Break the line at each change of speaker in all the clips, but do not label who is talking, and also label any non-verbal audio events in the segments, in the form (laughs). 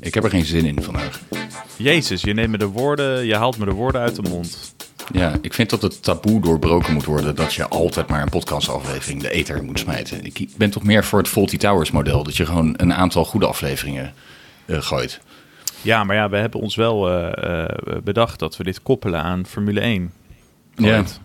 Ik heb er geen zin in vandaag.
Jezus, je neemt me de woorden, je haalt me de woorden uit de mond.
Ja, ik vind dat het taboe doorbroken moet worden dat je altijd maar een podcastaflevering de ether moet smijten. Ik ben toch meer voor het Faulty Towers model, dat je gewoon een aantal goede afleveringen eh, gooit.
Ja, maar ja, we hebben ons wel eh, eh, bedacht dat we dit koppelen aan Formule 1. Nooit.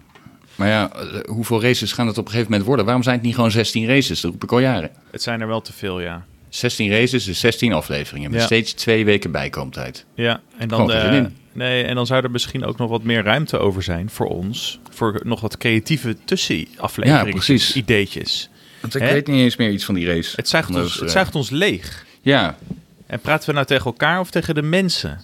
Maar ja, eh, hoeveel races gaan het op een gegeven moment worden? Waarom zijn het niet gewoon 16 races? Dat roep ik al jaren.
Het zijn er wel te veel, ja.
16 races is 16 afleveringen met
Ja.
steeds twee weken bijkomtijd.
Ja, en dan,
Gewoon geen zin
eh,
in.
nee, en dan zou er misschien ook nog wat meer ruimte over zijn voor ons. Voor nog wat creatieve
Ja,
tussenafleveringen,
precies.
ideetjes.
Want ik
Hè?
weet niet eens meer iets van die race.
Het zuigt, ons, het zuigt ons leeg.
Ja,
En praten we nou tegen elkaar of tegen de mensen?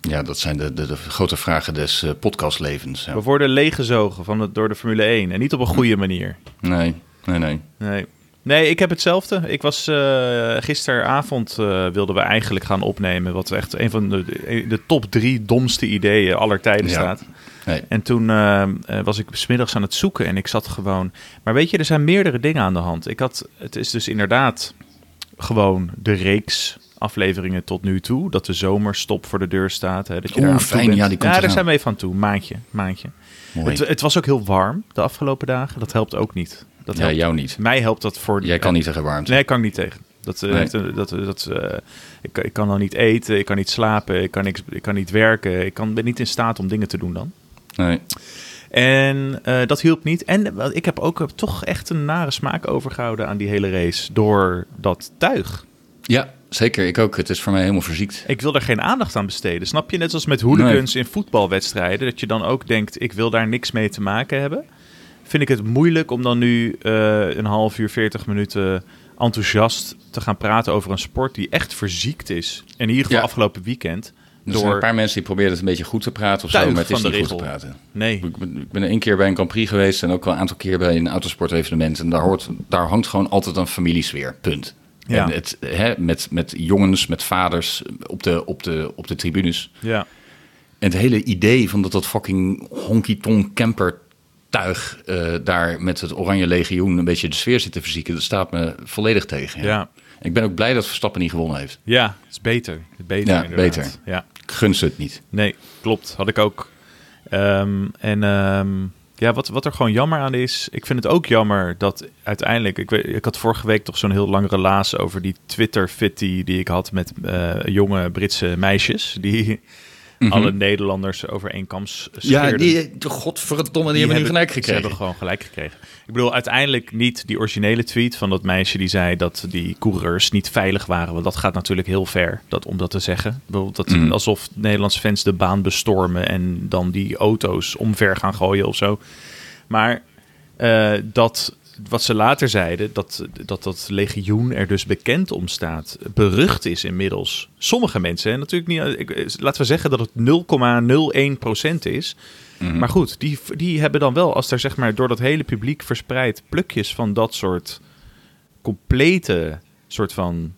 ja, dat zijn de, de, de grote vragen des eh, podcastlevens. ja.
We worden leeggezogen van het, door de Formule 1 en niet op een goede manier.
Nee, nee, nee.
Nee. Nee, ik heb hetzelfde. Ik was eh, gisteravond eh, wilden we eigenlijk gaan opnemen. Wat echt een van de, de top drie domste ideeën aller tijden
Ja.
staat.
Nee.
En toen eh, eh, was ik smiddags aan het zoeken en ik zat gewoon. Maar weet je, er zijn meerdere dingen aan de hand. Ik had, het is dus inderdaad gewoon de reeks afleveringen tot nu toe. Dat de zomerstop voor de deur staat. Hè, dat je
Oeh,
daar aan
fijn.
Toe bent.
Ja, die komt
ja, daar
eraan.
zijn we even aan toe. Maandje, maandje.
Mooi.
Het, het was ook heel warm de afgelopen dagen. Dat helpt ook niet. Dat
ja,
helpt
jou niet.
mij helpt dat voor.
Jij kan niet tegen warmte.
Nee, kan ik niet tegen. Dat, eh,
Nee.
heeft een- dat, dat, eh, ik, ik kan dan niet eten, ik kan niet slapen, ik kan, niks, ik kan niet werken. Ik kan, ben niet in staat om dingen te doen dan.
Nee.
En eh, dat hielp niet. En eh, wel, ik heb ook eh, toch echt een nare smaak overgehouden aan die hele race door dat tuig.
Ja, zeker. Ik ook. Het is voor mij helemaal verziekt.
Ik wil er geen aandacht aan besteden. Snap je? Net als met hooligans in voetbalwedstrijden. Dat je dan ook denkt, ik wil daar niks mee te maken hebben. Vind ik het moeilijk om dan nu eh, een half uur, veertig minuten enthousiast te gaan praten over een sport die echt verziekt is. En in ieder geval
Ja.
afgelopen weekend.
Er zijn een
Door...
paar mensen die proberen het een beetje goed te praten of zo,
Tuig
maar het is
van
niet
de
goed te
regel.
praten.
Nee.
Ik ben, ik ben één keer bij een Grand Prix geweest en ook wel een aantal keer bij een autosportevenement. En daar, hoort, daar hangt gewoon altijd een familiesfeer. Punt.
Ja.
En het, hè, met, met jongens, met vaders op de, op, de, op de tribunes.
Ja.
En het hele idee van dat dat fucking honky-tonk camper tuig eh, daar met het Oranje Legioen een beetje de sfeer zit te verzieken, dat staat me volledig tegen. ja.
Ja.
Ik ben ook blij dat Verstappen niet gewonnen heeft.
Ja, het is beter. Beter,
Ja,
inderdaad.
beter.
Ja.
Ik gun ze het niet.
Nee, klopt. Had ik ook. Ehm, en ehm, ja, wat, wat er gewoon jammer aan is. Ik vind het ook jammer dat uiteindelijk. Ik, weet, ik had vorige week toch zo'n heel lang relaas over die Twitter-fitty die ik had met eh, jonge Britse meisjes. Die alle Nederlanders over één kam s- scheerden.
de godverdomme,
Die Ze hebben gewoon gelijk gekregen. Ik bedoel, uiteindelijk niet die originele tweet van dat meisje die zei dat die coureurs niet veilig waren. Want dat gaat natuurlijk heel ver dat, om dat te zeggen. Ik bedoel, Dat, Alsof Nederlandse fans de baan bestormen en dan die auto's omver gaan gooien of zo. Maar eh, dat wat ze later zeiden, dat, dat dat legioen er dus bekend om staat, berucht is inmiddels. Sommige mensen, en natuurlijk niet, ik, eh, laten we zeggen dat het 0,01% is. Maar goed, die, die hebben dan wel, als er zeg maar door dat hele publiek verspreid plukjes van dat soort complete soort van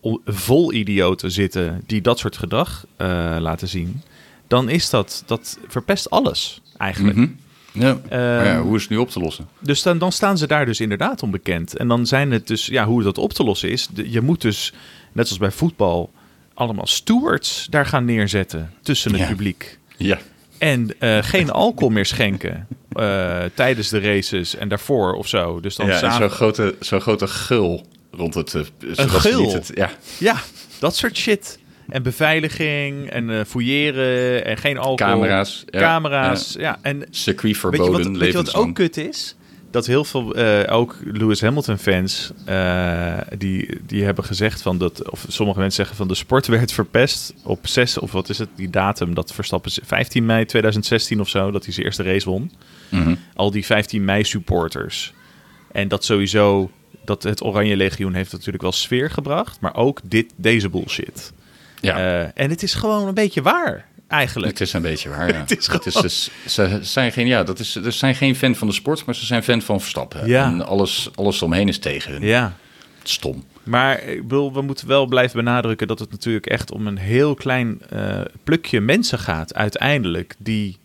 o- vol idioten zitten die dat soort gedrag eh, laten zien, dan is dat, dat verpest alles eigenlijk.
Ja. Maar
Ehm,
ja, hoe is het nu op te lossen?
Dus dan, dan staan ze daar dus inderdaad onbekend. En dan zijn het dus, ja, hoe dat op te lossen is. de- je moet dus, net als bij voetbal, allemaal stewards daar gaan neerzetten tussen het
Ja.
publiek.
Ja.
En eh,
(laughs)
geen alcohol meer schenken eh, tijdens de races en daarvoor of zo. Dus dan
ja en
zagen-
zo'n grote, zo'n grote gul rond het... eh, zodat ze
gul?
niet het- ja.
Ja, dat soort shit. En beveiliging en eh, fouilleren en geen alcohol.
Camera's, ja.
Camera's, ja. En
Circuit
Weet je,
verboden,
wat, weet je wat
levenslang.
ook kut is? Dat heel veel, eh, ook Lewis Hamilton fans, eh, die, die hebben gezegd van dat, of sommige mensen zeggen van de sport (laughs) werd verpest op 6, of wat is het, die datum, dat Verstappen, ze- 15 mei 2016 of zo, dat hij zijn eerste race won.
Mhm.
Al die 15 mei supporters. En dat sowieso, dat het Oranje Legioen heeft natuurlijk wel sfeer gebracht, maar ook dit, deze bullshit.
Ja.
Eh, en het is gewoon een beetje waar, eigenlijk.
Het is een beetje waar, ja.
(laughs)
het
is gewoon-
dus, ze zijn geen, ja, dat is, ze zijn geen fan van de sport, maar ze zijn fan van Verstappen.
Ja.
En alles, alles omheen is tegen hun.
Ja.
Stom.
Maar ik bedoel, we moeten wel blijven benadrukken dat het natuurlijk echt om een heel klein eh, plukje mensen gaat uiteindelijk die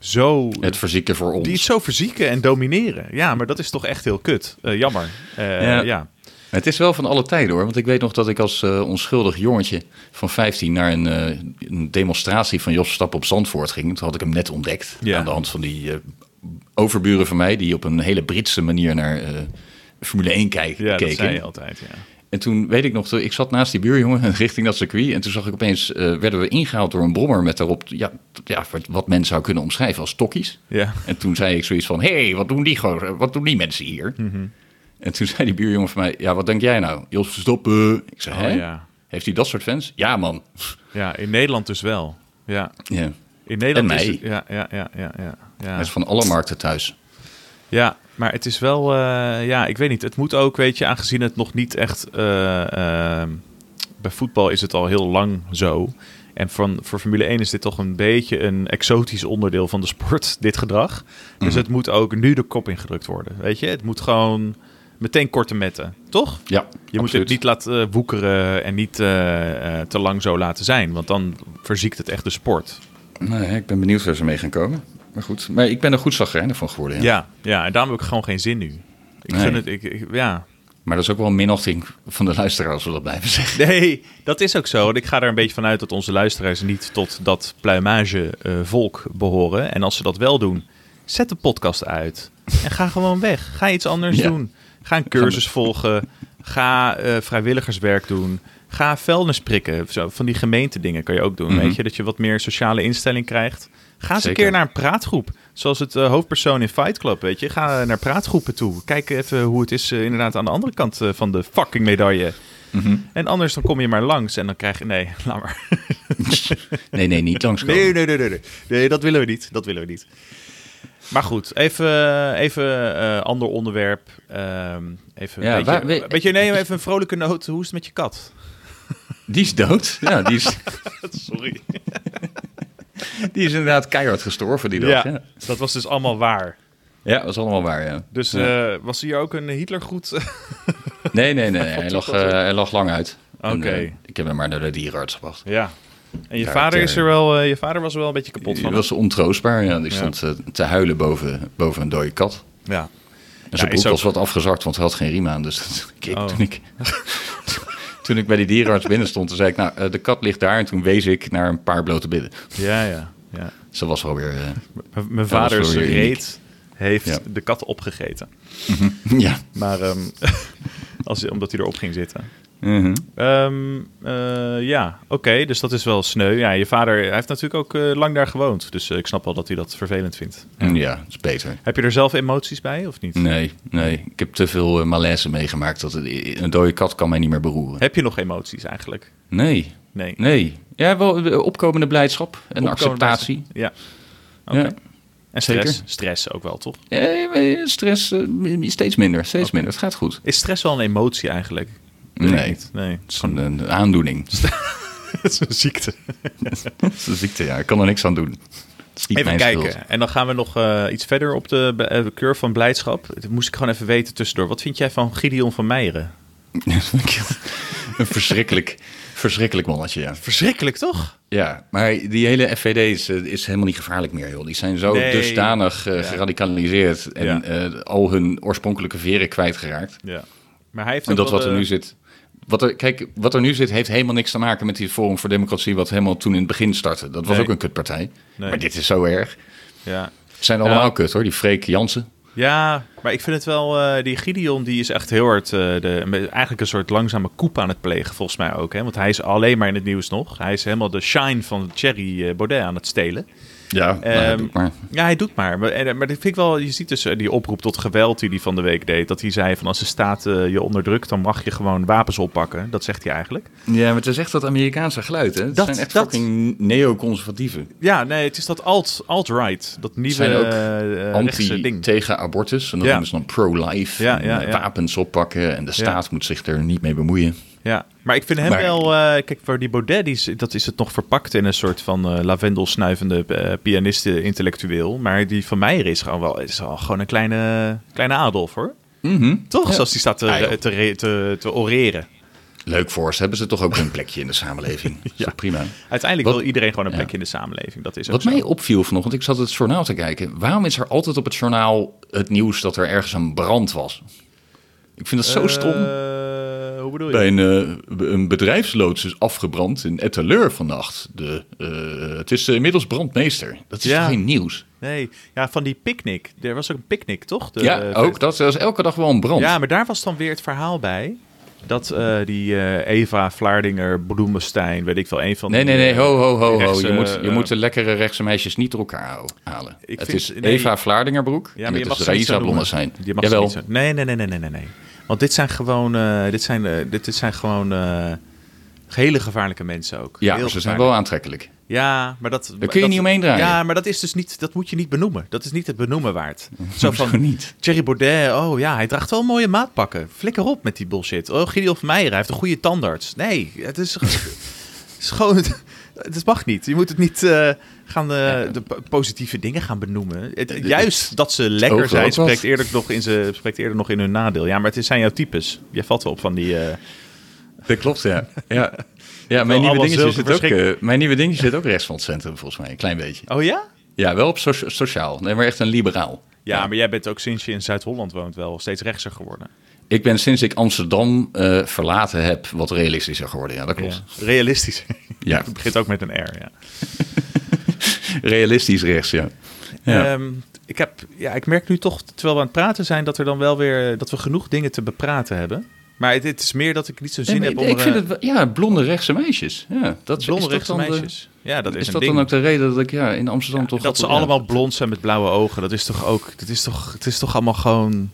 zo
Het verzieken voor ons.
die het zo verzieken en domineren. Ja, maar dat is toch echt heel kut. Eh, jammer. Eh,
Ja.
ja.
Het is wel van alle tijden hoor. Want ik weet nog dat ik als eh, onschuldig jongetje van 15 naar een, eh, een demonstratie van Jos Stap op Zandvoort ging. Toen had ik hem net ontdekt.
Ja.
Aan de hand van die eh, overburen van mij die op een hele Britse manier naar eh, Formule 1 kijk,
Ja, dat
keken.
zei je altijd. Ja.
En toen weet ik nog, toen- ik zat naast die buurjongen (laughs) richting dat circuit. En toen zag ik opeens, eh, werden we ingehaald door een brommer met daarop ja, t- ja, wat- wat men zou kunnen omschrijven als tokkies.
Ja.
En toen zei ik zoiets van, hé, hey, wat, doen die gozer- wat doen die mensen hier?
Mhm.
En toen (laughs) zei die buurjongen van mij, ja, wat denk jij nou? Jos Verstappen. Ik zei,
Oh,
hè?
ja.
Heeft hij dat soort fans? Ja, man. (laughs)
ja, in Nederland dus wel. Ja,
Ja.
in Nederland
En mij.
is het- ja, ja, ja, ja, ja, ja.
Hij is van alle markten thuis.
Ja, maar het is wel, eh, ja, ik weet niet. Het moet ook, weet je, aangezien het nog niet echt. eh, eh, bij voetbal is het al heel lang zo. En van, voor Formule 1 is dit toch een beetje een exotisch onderdeel van de sport, (laughs) dit gedrag. Dus
Mhm.
het moet ook nu de kop ingedrukt worden. Weet je, het moet gewoon meteen korte metten, toch?
Ja,
Je moet het niet laten eh, woekeren en niet eh, eh, te lang zo laten zijn, want dan verziekt het echt de sport.
Nou, ja, ik ben benieuwd waar ze mee gaan komen. Maar goed, maar ik ben er goed zagrijnig van geworden. ja.
Ja, ja, en daarom heb ik gewoon geen zin nu. Ik
Nee.
gun het, ik, ik- ja,
Maar dat is ook wel een minachting van de luisteraar als we dat blijven zeggen.
(laughs) Nee, dat is ook zo. En ik ga er een beetje vanuit dat onze luisteraars niet tot dat pluimage eh, volk behoren. En als ze dat wel doen, zet de podcast uit. En ga gewoon weg. Ga iets anders
Ja.
doen. Ga een cursus volgen. Ga eh, vrijwilligerswerk doen. Ga vuilnis prikken. Zo, van die gemeentedingen kan je ook doen. Weet je, dat je wat meer sociale instelling krijgt. Ga eens een
Zeker.
keer naar een praatgroep. Zoals het eh, hoofdpersoon in Fight Club, weet je. Ga naar praatgroepen toe. Kijk even hoe het is eh, inderdaad aan de andere kant eh, van de fucking medaille. En anders dan kom je maar langs en dan krijg je... Nee, (laughs) laat maar.
Nee, nee,
(laughs)
niet langskomen.
Nee, nee, nee, nee. Nee, nee dat willen we niet. Dat willen we niet. Maar goed, even, even eh, ander onderwerp. Ehm, even
Ja,
een
waar-
beetje,
we-
weet je, nee, maar even een vrolijke noot. Hoe is het met je kat?
Die is
(laughs)
dood. Ja, die is,
Sorry.
die is inderdaad keihard gestorven die dag. Ja,
Ja,
ja.
dat was dus allemaal waar.
dat is allemaal waar, ja.
Dus eh, was hier ook een Hitlergroet?
Nee, nee, nee. nee,
(laughs)
Hij, lag, eh, hij lag lang uit. En,
Oké.
eh, ik heb hem maar naar de dierenarts gebracht.
ja. En je
Ja,
vader,
ter-
is er wel, eh, je vader was er wel een beetje kapot
Die
van.
was ontroostbaar. Ja. Die
Ja.
stond eh, te huilen boven, boven een dode kat.
Ja.
En zijn
is
broek
ook-
was wat afgezakt, want hij had geen riem aan. Dus (laughs) dat- ik,
Oh.
toen, ik, toen ik bij die dierenarts binnen stond, toen zei ik, nou, eh, de kat ligt daar. En toen wees ik naar een paar blote bidden.
Ja, ja, ja.
Ze was wel weer... eh, (laughs)
M- Mijn
dat is wel
vaders
weer uniek.
reet heeft
Ja.
de kat opgegeten.
ja.
Maar ehm, (laughs) als, omdat hij erop ging zitten.
Mhm.
Ehm, eh, ja, oké, dus dat is wel sneu. Ja, je vader hij heeft natuurlijk ook eh, lang daar gewoond. Dus eh, ik snap wel dat hij dat vervelend vindt.
ja, dat is beter.
Heb je er zelf emoties bij of niet?
Nee, nee. Ik heb te veel eh, malaise meegemaakt. Dat het- een dode kat kan mij niet meer beroeren.
Heb je nog emoties eigenlijk?
Nee,
Nee.
nee. Ja, wel eh, opkomende blijdschap en acceptatie.
Ja. Oké.
Ja.
En stress?
Zeker.
Stress ook wel, toch?
Eh, eh, Stress eh, steeds minder, steeds minder. Het gaat goed.
Is stress wel een emotie eigenlijk?
Nee,
Weet ik niet.
het
Nee.
is een, een aandoening.
(laughs) Het is een ziekte.
Het is een ziekte, ja. Ik kan er niks aan doen. Het is niet
Even
mijn
kijken.
schuld.
En dan gaan we nog eh, iets verder op de be- eh, curve van blijdschap. Dat moest ik gewoon even weten tussendoor. Wat vind jij van Gideon van Meijeren?
(laughs) een verschrikkelijk, verschrikkelijk mannetje, ja.
Verschrikkelijk, toch?
Ja, maar die hele FVD is, eh, is helemaal niet gevaarlijk meer, joh. Die zijn zo
Nee.
dusdanig eh, geradicaliseerd en
Ja.
eh, al hun oorspronkelijke veren kwijtgeraakt.
Ja. Maar hij heeft
En
ook
dat
wel
wat er
de-
nu zit. Wat er, kijk, wat er nu zit heeft helemaal niks te maken met die Forum voor Democratie, wat helemaal toen in het begin startte. Dat was
Nee.
ook een kutpartij.
Nee.
Maar dit is zo erg.
Ja.
Het zijn allemaal
Ja.
kut hoor, die Freek Jansen.
ja, maar ik vind het wel... eh, die Gideon die is echt heel hard... eh, de, met eigenlijk een soort langzame koep aan het plegen, volgens mij ook. Hè? Want hij is alleen maar in het nieuws nog. Hij is helemaal de shine van Thierry eh, Baudet aan het stelen.
Ja, nou,
Ehm,
doe ik maar.
Ja, hij doet maar. Maar, en- eh, maar dat vind ik wel, je ziet dus eh, die oproep tot geweld die hij van de week deed. Dat hij zei van als de staat eh, je onderdrukt, dan mag je gewoon wapens oppakken. Dat zegt hij eigenlijk.
Ja, maar het is echt dat Amerikaanse geluid, hè? Het
Dat-
zijn echt
dat-
fucking neoconservatieven.
Ja, nee, het is dat alt- alt-right. dat nieuwe
Zijn ook
eh, eh, rechtse
Anti
ding.
tegen abortus. En dan
Ja.
noemen ze dan pro-life.
Ja,
en,
ja,
eh,
ja.
Wapens oppakken en de staat moet zich er niet mee bemoeien.
Ja, maar ik vind hem
Maar-
wel... eh, kijk, voor die Baudet, die is, dat is het nog verpakt in een soort van eh lavendelsnuivende eh, pianiste-intellectueel. Maar die van Meijer is gewoon wel is al gewoon een kleine, kleine Adolf, hoor.
Mhm.
Toch? Zoals die staat te,
Ah, joh.
te, te, te oreren.
Leuk voor ze. Hebben ze toch ook een plekje in de
(laughs)
samenleving? ja, prima.
Uiteindelijk
Wat-
wil iedereen gewoon een plekje in de samenleving. Dat is ook
Wat
zo.
mij opviel vanochtend, ik zat het journaal te kijken. Waarom is er altijd op het journaal het nieuws dat er ergens een brand was? Ik vind dat zo stom.
Eh, hoe bedoel je?
Bij een, eh, be- een bedrijfsloods is afgebrand in Etteleur vannacht. De, eh, het is eh, inmiddels brandmeester. Dat is
Ja.
toch geen nieuws?
Nee, ja, van die picknick. Er was ook een picknick, toch? De,
ja,
eh,
ook. Dat, dat is elke dag wel een brand.
Ja, maar daar was dan weer het verhaal bij. Dat eh, die eh, Eva Vlaardinger, Bloemenstein, weet ik wel, een van
nee,
die, eh,
nee, nee. Ho, ho, ho, ho.
rechtse,
Je moet, je
eh,
moet de lekkere rechtse meisjes niet door elkaar hou- halen.
Ik
het
vind-
is
nee.
Eva Vlaardingerbroek
Ja,
en
maar je
het
mag
is
ze niet zo
dus Raisa
noemen.
Blommestein.
Je mag ze
Jawel.
niet zo- Nee, nee, nee, nee, nee, nee, nee. Want dit zijn gewoon, eh, dit zijn, eh, dit dit zijn gewoon eh, hele gevaarlijke mensen ook.
Ja,
Heel
maar ze zijn
gevaarlijk.
wel aantrekkelijk.
Ja, maar dat...
kun je
dat-
niet omheen draaien.
Ja, maar dat is dus niet... Dat moet je niet benoemen. Dat is niet het benoemen
(laughs)
waard. Zo
Hoezo
van...
niet?
Thierry Baudet, oh ja, hij draagt wel mooie maatpakken. Flikker op met die bullshit. Oh, Gideon van Meijer, hij heeft een goede tandarts. Nee, het
(laughs)
is... het is gewoon... Het mag niet. Je moet het niet eh, gaan, eh, de po- positieve dingen gaan benoemen. Het, juist dat ze lekker
Ogen ook
zijn,
wat.
spreekt eerder, nog in ze, spreekt eerder nog in hun nadeel. Ja, maar het zijn jouw types. Jij valt wel op van die... eh,
Dat klopt, (laughs) ja. ja. Ja, mijn nieuwe,
allemaal
dingetje
zulke
zit ook,
verschrik-
eh, mijn nieuwe dingetje zit ook rechts van het centrum, volgens mij. Een klein beetje.
oh ja?
Ja, wel op socia- sociaal. Nee, maar echt een liberaal.
Ja, maar jij bent ook sinds je in Zuid-Holland woont wel steeds rechtser geworden.
Ik ben sinds ik Amsterdam eh, verlaten heb wat realistischer geworden. Ja, dat klopt.
Ja. Realistisch.
Ja.
(laughs) Het begint ook met een R, ja.
Realistisch rechts, ja. Ja.
Ehm, ik, heb, ja, ik merk nu toch, terwijl we aan het praten zijn, dat, er dan wel weer, dat we genoeg dingen te bepraten hebben. Maar het, het is meer dat ik niet zo zin
Nee, maar
heb om...
ik
er,
vind
eh,
het, wel- ja, blonde rechtse meisjes. Ja, dat is-
blonde
is dat
rechtse
dan de-
meisjes. ja, dat is,
is
een
dat
ding.
dan ook de reden dat ik ja, in Amsterdam toch...
dat ze
ja.
allemaal blond zijn met blauwe ogen. Dat is toch ook... Dat is toch, het is toch allemaal gewoon...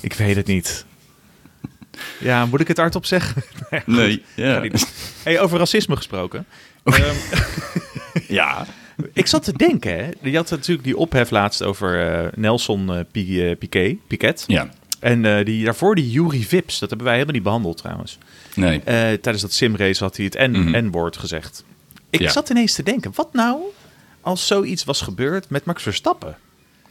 Ik weet het niet. Ja, moet ik het hardop zeggen? (laughs) Nee, goed.
Nee,
Ga
ja.
niet doen. Hey, over racisme gesproken. Ehm,
(laughs) ja.
Ik zat te denken, hè. Je had natuurlijk die ophef laatst over eh, Nelson eh, Pi- eh, Piquet. Piquet.
Ja,
En eh, die, daarvoor die Yuri Vips. Dat hebben wij helemaal niet behandeld trouwens.
nee.
Eh, tijdens dat simrace had hij het N-
Mhm.
N-woord gezegd. Ik
Ja.
zat ineens te denken, wat nou als zoiets was gebeurd met Max Verstappen?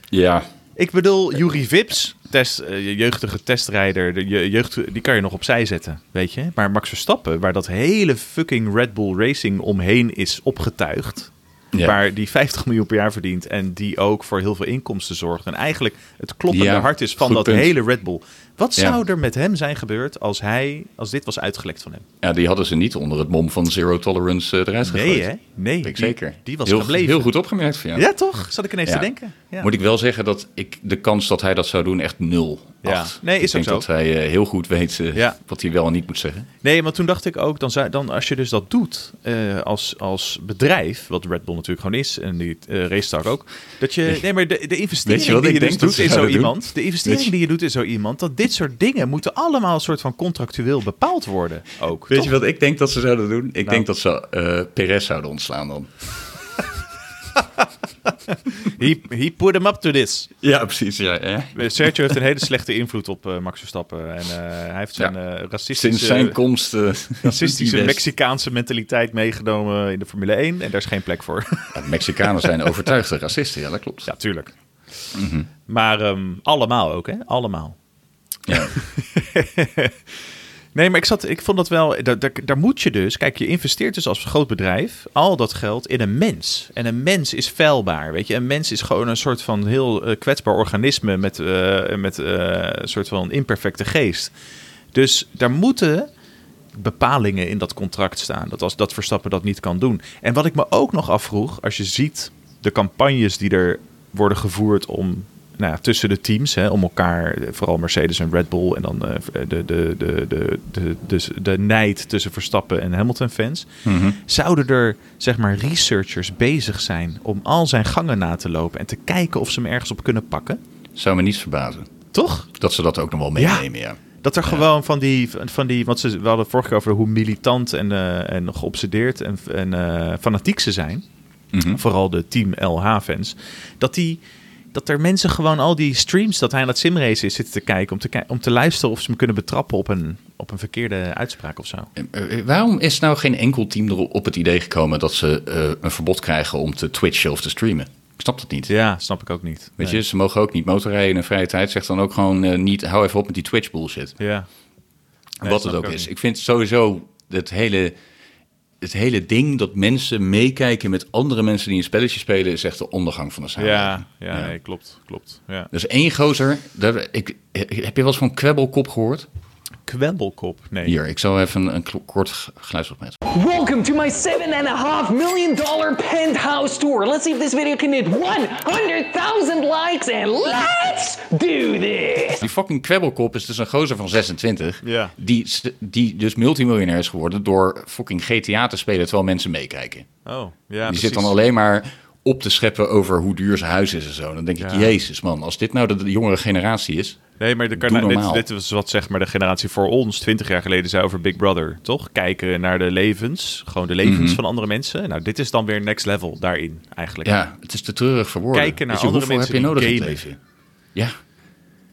Ja,
Ik bedoel, Yuri Vips, test, eh, jeugdige testrijder, de je, jeugd, die kan je nog opzij zetten, weet je. Maar Max Verstappen, waar dat hele fucking Red Bull Racing omheen is opgetuigd...
Ja.
waar die 50 miljoen per jaar verdient en die ook voor heel veel inkomsten zorgt... en eigenlijk het kloppende
Ja,
hart is van
goed
dat
punt.
hele Red Bull. Wat
Ja.
zou er met hem zijn gebeurd als, hij, als dit was uitgelekt van hem?
ja, die hadden ze niet onder het mom van zero tolerance eh, eruit gegooid.
Nee, hè? Nee,
Ik
die,
zeker.
die was
heel,
gebleven.
Heel goed opgemerkt van jou.
Ja, toch? Zat ik ineens
Ja.
te denken. Ja.
Moet ik wel zeggen dat ik de kans dat hij dat zou doen echt nul
Ja.
acht.
Nee, is
ik denk
ook zo.
dat hij eh, heel goed weet eh,
Ja.
wat hij wel en niet moet zeggen.
Nee, maar toen dacht ik ook, dan, zou, dan als je dus dat doet eh, als, als bedrijf, wat Red Bull natuurlijk gewoon is en die eh RaceTalk ook, dat je, nee, maar de, de investering
Weet je wat
die
ik
je dus
denk dat
doet
ze
in zo
zouden doen?
iemand, de investering
Weet je-
die je doet in zo iemand, dat dit soort dingen moeten allemaal een soort van contractueel bepaald worden ook.
Weet
toch?
je wat ik denk dat ze zouden doen? Ik
denk
denk dat ze eh, Perez zouden ontslaan dan.
He, he put him up to this. Eh,
Ja, precies. Ja,
Sergio heeft een hele slechte invloed op eh, Max Verstappen en eh, hij heeft zijn eh racistische...
Sinds zijn komst...
(laughs)
eh,
Racistische
die best-
Mexicaanse mentaliteit meegenomen in de Formule 1. En daar is geen plek voor.
Ja, Mexicanen zijn overtuigde racisten, ja, dat klopt.
Ja, tuurlijk. Maar ehm, allemaal ook, hè? Allemaal.
Ja.
Nee, maar ik, zat, ik vond dat wel... Daar, daar, daar moet je dus... Kijk, je investeert dus als groot bedrijf al dat geld in een mens. En een mens is vuilbaar, weet je. Een mens is gewoon een soort van heel eh, kwetsbaar organisme... met, eh, met eh, een soort van imperfecte geest. Dus daar moeten bepalingen in dat contract staan. Dat, als, dat Verstappen dat niet kan doen. En wat ik me ook nog afvroeg, als je ziet de campagnes die er worden gevoerd om. Nou ja, tussen de teams, hè, om elkaar, eh, vooral Mercedes en Red Bull, en dan eh, de, de, de, de, de, dus de nijd tussen Verstappen en Hamilton-fans. Zouden er, zeg maar, researchers bezig zijn om al zijn gangen na te lopen en te kijken of ze hem ergens op kunnen pakken?
Zou me niet verbazen
Toch?
dat ze dat ook nog wel
Ja.
meenemen, ja.
Dat er gewoon van die, van die want ze, we hadden vorige keer over hoe militant en, eh, en geobsedeerd en, en eh, fanatiek ze zijn.
Mhm.
Vooral de Team LH-fans. Dat, die, dat er mensen gewoon al die streams dat hij aan het simrace is zitten te kijken. Om te, ki- om te luisteren of ze hem kunnen betrappen op een, op een verkeerde uitspraak of zo.
Eh, eh, Waarom is nou geen enkel team erop het idee gekomen dat ze eh, een verbod krijgen om te twitchen of te streamen? Ik snap dat niet.
Ja, snap ik ook niet.
Weet je, ze mogen ook niet motorrijden in hun vrije tijd. Zeg dan ook gewoon eh, niet, hou even op met die Twitch bullshit.
Ja. Nee,
wat
snap
het
ik
ook
ook
is.
niet.
Ik vind sowieso het hele, het hele ding dat mensen meekijken met andere mensen die een spelletje spelen, is echt de ondergang van de samenleving.
Ja, ja, nee, klopt, klopt. Ja.
Er is één gozer, daar, ik, heb je wel eens van kwebbelkop gehoord?
Kwebbelkop, nee.
Hier, ik zal even een, een klo- kort g- geluidsfragment.
Welcome to my seven and a half million dollar penthouse tour. Let's see if this video can hit 100,000 likes and let's do this.
Die fucking kwebbelkop is dus een gozer van 26.
Ja.
Die, s- die dus multimiljonair is geworden door fucking GTA te spelen terwijl mensen meekijken. die
Oh, ja,
zit dan alleen maar op te scheppen over hoe duur zijn huis is en zo. Dan denk ik,
Ja.
jezus man, als dit nou de, de jongere generatie is.
Nee, maar de
Doe
karna-
normaal.
dit, dit was wat zeg maar de generatie voor ons 20 jaar geleden zei over Big Brother, toch? Kijken naar de levens, gewoon de levens
Mhm.
van andere mensen. Nou, dit is dan weer next level daarin eigenlijk.
Ja, het is te treurig voor woorden.
Kijken naar
Weet je,
andere
hoeveel
mensen
heb je nodig
die
in het
gamen.
leven? Ja,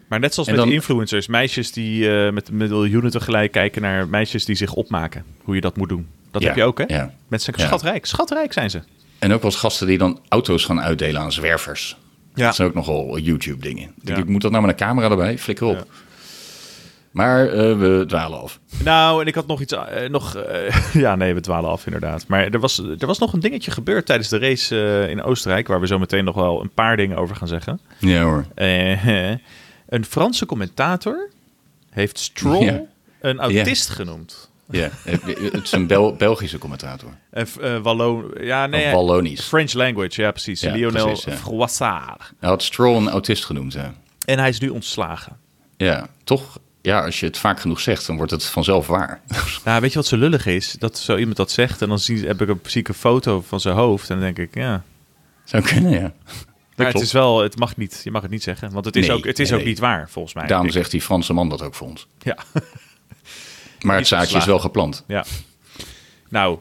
Maar net zoals
En
met
dan-
influencers, meisjes die eh, met miljoenen tegelijk kijken naar meisjes die zich opmaken, hoe je dat moet doen. Dat
Ja,
heb je ook, hè?
ja.
Mensen
Ja.
zijn schatrijk, schatrijk zijn ze.
en ook wel eens gasten die dan auto's gaan uitdelen aan zwervers.
Ja.
Dat zijn ook nogal YouTube dingen. Denk
Ja.
ik, moet dat nou met een camera erbij? Flikker op. Maar eh, we dwalen af.
Nou, en ik had nog iets. eh, nog, eh, (laughs) ja, nee, we dwalen af inderdaad. Maar er was, er was nog een dingetje gebeurd tijdens de race eh, in Oostenrijk. Waar we zo meteen nog wel een paar dingen over gaan zeggen.
Ja hoor.
Eh, (laughs) een Franse commentator heeft Stroll
Ja.
een autist genoemd.
Ja, eh, het is een Bel- Belgische commentator.
En f- eh Wallo- ja, nee, eh,
Of Wallonisch.
French language, ja, precies.
Ja,
Lionel
precies, ja.
Froissart.
Hij had Stroll een autist genoemd. Hè.
En hij is nu ontslagen.
Ja, toch? Ja, als je het vaak genoeg zegt, dan wordt het vanzelf (laughs) waar.
Nou, weet je wat zo lullig is? Dat zo iemand dat zegt en dan zie, heb ik een, zie ik een foto van zijn hoofd. En dan denk ik, ja,
Zou kunnen, ja.
Maar het
klopt.
is wel, het mag niet, je mag het niet zeggen, want het is
Nee,
ook, het is
nee,
ook
nee.
niet waar volgens mij.
Daarom
Ik-
zegt die Franse man dat ook voor ons.
Ja,
Maar het zaadje is
ontslagen.
wel geplant.
ja. Nou,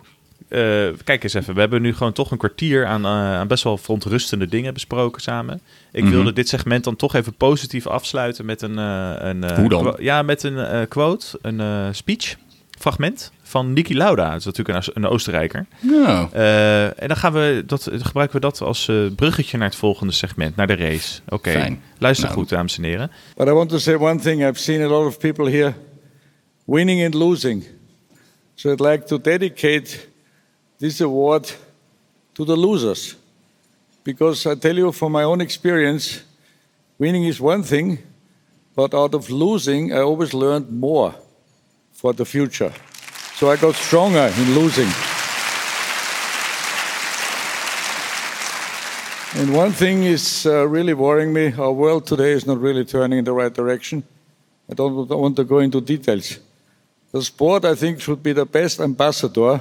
eh, kijk eens even, we hebben nu gewoon toch een kwartier aan, eh, aan best wel verontrustende dingen besproken samen. Ik
Mhm.
wilde dit segment dan toch even positief afsluiten met een, eh, een eh,
Hoe dan?
qua- ja, met een eh, quote, een eh, speech, fragment van Niki Lauda. Dat is natuurlijk een, Oost- een Oostenrijker.
Nou,
Eh, en dan gaan we dat, gebruiken we dat als eh, bruggetje naar het volgende segment, naar de race. Oké,
Fijn.
luister
Nou.
goed, dames en heren.
But I want to say one thing I've seen a lot of people here winning and losing. So I'd like to dedicate this award to the losers. Because I tell you from my own experience, winning is one thing, but out of losing, I always learned more for the future. So I got stronger in losing. And one thing is uh, really worrying me our world today is not really turning in the right direction. I don't don't want to go into details. The sport, I think, should be the best ambassador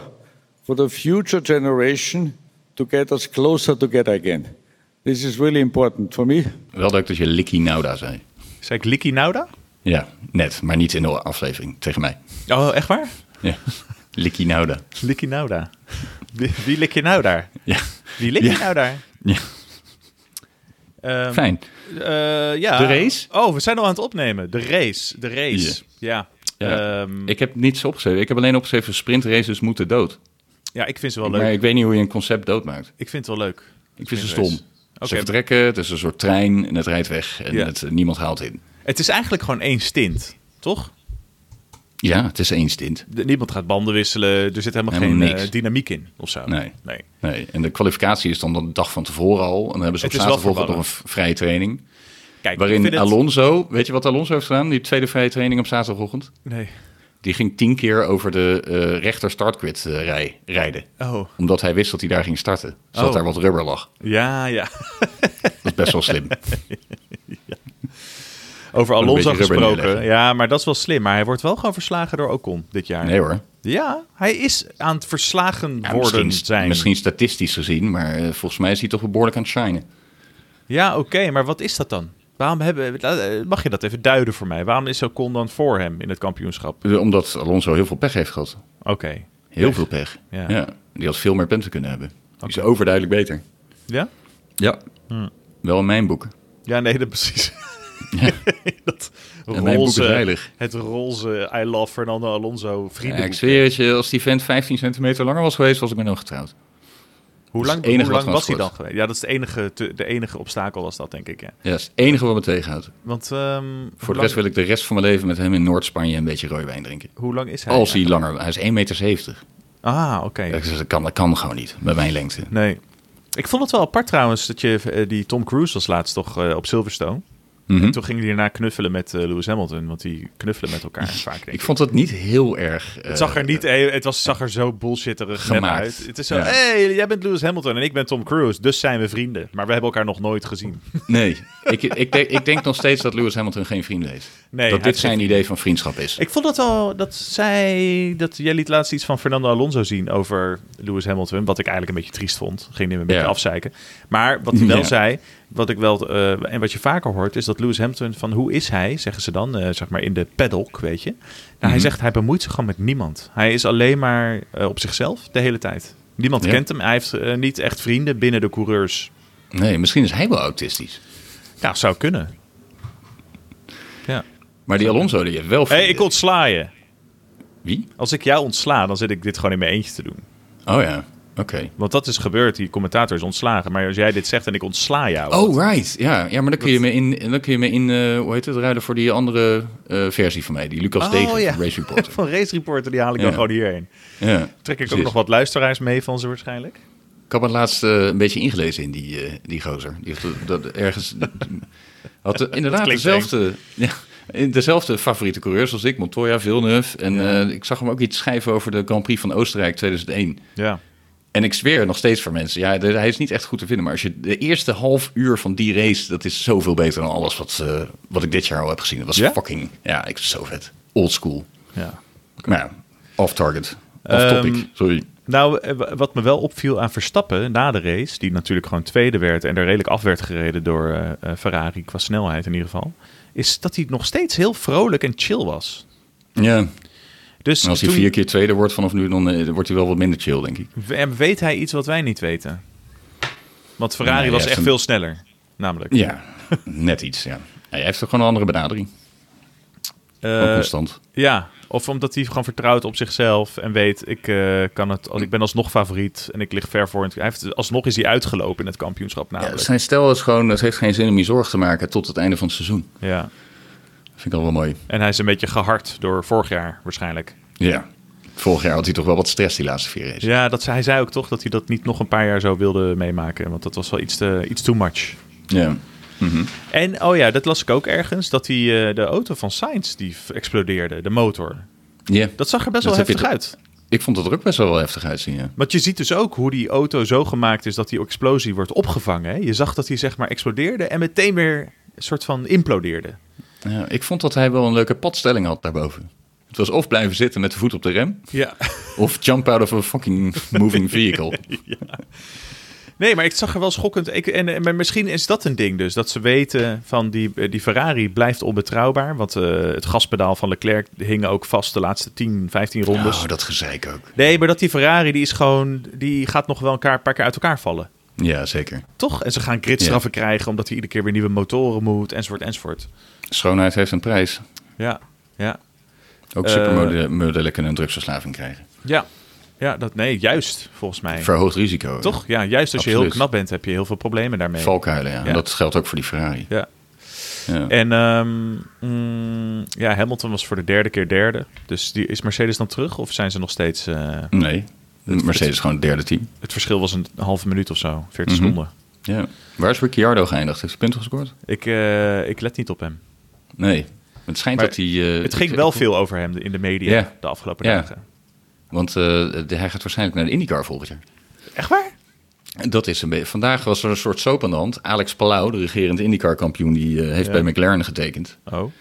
for the future generation to get us closer together again. This is really important for me.
wel leuk dat je Likkie Nauda zei.
Zei ik Liki Nauda?
Ja, net, maar niet in de aflevering tegen mij.
Oh, echt waar?
Ja. (laughs) Likkie Nauda.
Lik je nou daar? Wie, wie lik je nou daar?
Ja.
Wie lik je nou daar?
Ja.
Ehm,
Fijn.
eh, ja.
De race?
Oh, we zijn al aan het opnemen. De race. De race. Ja. Ehm,
Ja.
Ja,
ik heb niets opgeschreven. Ik heb alleen opgeschreven: sprintraces moeten dood.
ja ik vind ze wel
Maar
leuk.
ik weet niet hoe je een concept doodmaakt.
Ik vind het wel leuk.
Ik vind ze
Sprintrace.
stom. Ze
Oké.
vertrekken, het is een soort trein en het rijdt weg en
Ja.
het, eh, niemand haalt in.
Het is eigenlijk gewoon één stint, toch?
Ja, het is één stint.
De- niemand gaat banden wisselen. Er zit helemaal,
Helemaal
geen eh,
niks.
dynamiek in of zo.
Nee.
nee.
Nee, en de kwalificatie is dan de dag van tevoren al. En dan hebben ze op
Het is wel
zaterdag nog een
verwarrend.
v- vrije training.
Kijk, ik
Waarin
vind het-
Alonso, weet je wat Alonso heeft gedaan? Die tweede vrije training op zaterdagochtend.
Nee.
Die ging tien keer over de eh, rechter startgrid eh, rij, rijden.
Oh,
Omdat hij wist dat hij daar ging starten. Zodat
Oh.
daar wat rubber lag.
ja,
(laughs)
ja.
Dat is best wel slim.
(laughs) Over
een
Alonso
beetje rubber
gesproken.
neerleggen.
Ja, maar dat is wel slim. Maar hij wordt wel gewoon verslagen door Ocon dit jaar.
Nee hoor.
Ja, hij is aan het verslagen
Ja,
worden
misschien,
zijn.
misschien statistisch gezien, maar eh, volgens mij is hij toch wel behoorlijk aan het shinen.
Ja, oké, maar wat is dat dan? Waarom hebben, eh, mag je dat even duiden voor mij? Waarom is Ocon dan voor hem in het kampioenschap?
Eh, Omdat Alonso heel veel pech heeft gehad.
Oké.
Heel veel pech.
Ja.
Ja. Die had veel meer punten kunnen hebben. Die is overduidelijk beter.
Ja?
Ja.
Hm.
Wel in mijn boeken.
Ja, nee, dat precies. (laughs) dat
En mijn boek is
roze,
heilig.
het roze I love Fernando Alonso
Ja, ik
vriendenboek.
zweer het je, als die vent 15 centimeter langer was geweest, was ik met hem getrouwd.
Hoe
is
lang,
het enige
hoe
wat
lang
we
was hij
hebben
dan geweest? Ja, dat is de enige, te- de enige obstakel was dat, denk ik. Ja.
Ja, dat is het enige wat me tegenhoudt.
Want ehm,
Voor
hoe,
de rest
lang,
wil ik de rest van mijn leven met hem in Noord-Spanje een beetje rooiwijn drinken.
hoe lang is hij?
Als hij langer... Hij is 1,70 meter.
Ah, oké.
Ik zeg, Dat kan, dat kan gewoon niet, bij mijn lengte.
Nee. Ik vond het wel apart trouwens dat je eh, die Tom Cruise was laatst toch eh, op Silverstone.
Mhm.
En toen ging hij daarna knuffelen met eh, Lewis Hamilton, want die knuffelen met
(laughs)
elkaar vaak. Denk
Ik
ik.
vond het niet heel erg... eh,
Het zag er niet, eh, het was, zag er zo bullshitterig net
Gemaakt.
uit. Het is zo,
Ja.
hey, jij bent Lewis Hamilton en ik ben Tom Cruise, dus zijn we vrienden. Maar we hebben elkaar nog nooit gezien.
Nee, ik, ik, denk, ik denk nog steeds dat Lewis Hamilton geen vrienden heeft.
Nee,
dat
hij
dit
heeft geen
zijn idee van vriendschap is.
Ik vond dat al, dat zij, dat jij liet laatst iets van Fernando Alonso zien over Lewis Hamilton, wat ik eigenlijk een beetje triest vond. Ging hem een beetje
Ja.
afzeiken. Maar wat hij wel
Ja.
zei, wat ik wel, eh, en wat je vaker hoort, is dat Lewis Hamilton van hoe is hij, zeggen ze dan, eh, zeg maar in de paddock, weet je. Nou,
Mhm.
hij zegt, hij bemoeit zich gewoon met niemand. Hij is alleen maar eh, op zichzelf de hele tijd. Niemand
Ja.
kent hem. Hij heeft eh, niet echt vrienden binnen de coureurs.
Nee, misschien is hij wel autistisch.
Nou, zou kunnen. Ja.
Maar die Alonso, die heeft wel
Hé, hey,
vrienden.
ik ontsla je.
Wie?
Als ik jou ontsla, dan zit ik dit gewoon in mijn eentje te doen.
Oh ja, oké.
Want dat is gebeurd, die commentator is ontslagen. Maar als jij dit zegt en ik ontsla jou.
Oh, right. Ja, ja maar dan kun je me in, dan kun je me in eh, hoe heet het, ruilen voor die andere eh, versie van mij. Die Lucas
Oh,
Degen
ja.
van Race Reporter.
Van Race Reporter, die haal ik dan
Ja.
gewoon hierheen.
ja,
(laughs) Trek ik ook
precies.
nog wat luisteraars mee van ze waarschijnlijk.
Ik had me laatst eh, een beetje ingelezen in die, eh, die gozer. Die heeft dat- dat
(laughs)
ergens... had eh, inderdaad
klinkt
dezelfde... (laughs) Ja, in dezelfde favoriete coureurs als ik, Montoya, Villeneuve. En eh, ik zag hem ook iets schrijven over de Grand Prix van Oostenrijk 2001.
Ja.
En ik zweer nog steeds voor mensen. Ja, de- hij is niet echt goed te vinden. Maar als je de eerste half uur van die race. dat is zoveel beter dan alles wat, eh, wat ik dit jaar al heb gezien. Dat was
Ja?
fucking. Ja, ik zo vet. Old school.
ja.
Maar ja, off target. Off
Ehm,
topic. Sorry.
Nou, eh, wa- wat me wel opviel aan Verstappen na de race, die natuurlijk gewoon tweede werd en er redelijk af werd gereden door eh, eh, Ferrari qua snelheid in ieder geval, is dat hij nog steeds heel vrolijk en chill was.
Ja.
Dus
En als hij
toen-
vier keer tweede wordt vanaf nu. dan eh, wordt hij wel wat minder chill, denk ik.
we- weet hij iets wat wij niet weten? Want
Nee,
Ferrari
hij
was
heeft
echt
een-
veel sneller, namelijk.
Ja, (laughs) net iets. Ja. Hij heeft toch gewoon een andere benadering. Ook
Eh,
constant.
Ja, of omdat hij gewoon vertrouwt op zichzelf en weet, ik, eh, kan het, ik ben alsnog favoriet en ik lig ver voor. in het- Hij heeft, alsnog is hij uitgelopen in het kampioenschap
Ja,
namelijk. Ja,
zijn dus stel is gewoon. het heeft geen zin om je zorgen te maken. tot het einde van het seizoen. Dat vind ik al wel mooi.
En hij is een beetje gehard door vorig jaar waarschijnlijk.
Ja. Vorig jaar had hij toch wel wat stress die laatste vier races.
Ja, dat, zei- hij zei ook toch dat hij dat niet nog een paar jaar zo wilde meemaken, want dat was wel iets, te, iets too much.
Ja.
En, oh ja, dat las ik ook ergens, dat hij, eh, de auto van Sainz die f- explodeerde, de motor.
Ja.
Dat zag er best
Dat
wel
heb je
heftig
te-
uit.
Ik vond het er ook best wel heftig uitzien, ja.
Want je ziet dus ook hoe die auto zo gemaakt is dat die explosie wordt opgevangen. Hè? Je zag dat hij zeg maar explodeerde en meteen weer een soort van implodeerde.
Ja, Ik vond dat hij wel een leuke padstelling had daarboven. Het was of blijven zitten met de voet op de rem...
Ja.
of jump out of a fucking moving (laughs) vehicle.
(laughs) Nee, maar ik zag er wel schokkend. Ik, en, en- maar misschien is dat een ding dus. Dat ze weten van die, eh, die Ferrari blijft onbetrouwbaar. Want eh, het gaspedaal van Leclerc hing ook vast de laatste 10, 15 rondes.
Oh, dat gezeik ook.
Nee, maar dat die Ferrari die is gewoon. Die gaat nog wel een paar, paar keer uit elkaar vallen.
Ja, zeker.
Toch? En ze gaan gridstraffen krijgen omdat hij iedere keer weer nieuwe motoren moet. Enzovoort, enzovoort.
Schoonheid heeft een prijs.
Ja, ja.
Ook
Eh.
supermodellen kunnen een drugsverslaving krijgen.
Ja, ja dat, nee, juist volgens mij.
Verhoogd risico.
Toch? Ja, juist als je heel
Absoluut.
knap bent, heb je heel veel problemen daarmee.
Valkuilen, ja.
Ja.
En dat geldt ook voor die Ferrari.
Ja.
Ja.
En ehm, mm, ja, Hamilton was voor de derde keer derde. Dus die, is Mercedes dan terug of zijn ze nog steeds... eh,
Nee, Mercedes is gewoon het derde team.
het verschil was een halve minuut of zo,
Mhm.
40 seconden.
Ja. Waar is Ricciardo geëindigd? Heeft hij punten gescoord?
Ik, eh, ik let niet op hem.
Nee. Het schijnt
Maar
dat hij... eh,
Het ging
ik-
wel
ik-
veel over hem in de media
Ja.
de afgelopen
Ja.
dagen.
Want eh, de- hij gaat waarschijnlijk naar de IndyCar volgend jaar.
Echt waar?
En Dat is een beetje. Vandaag was er een soort soap aan de hand. Alex Palau, de regerend IndyCar-kampioen, die eh, heeft bij McLaren getekend.
Oh,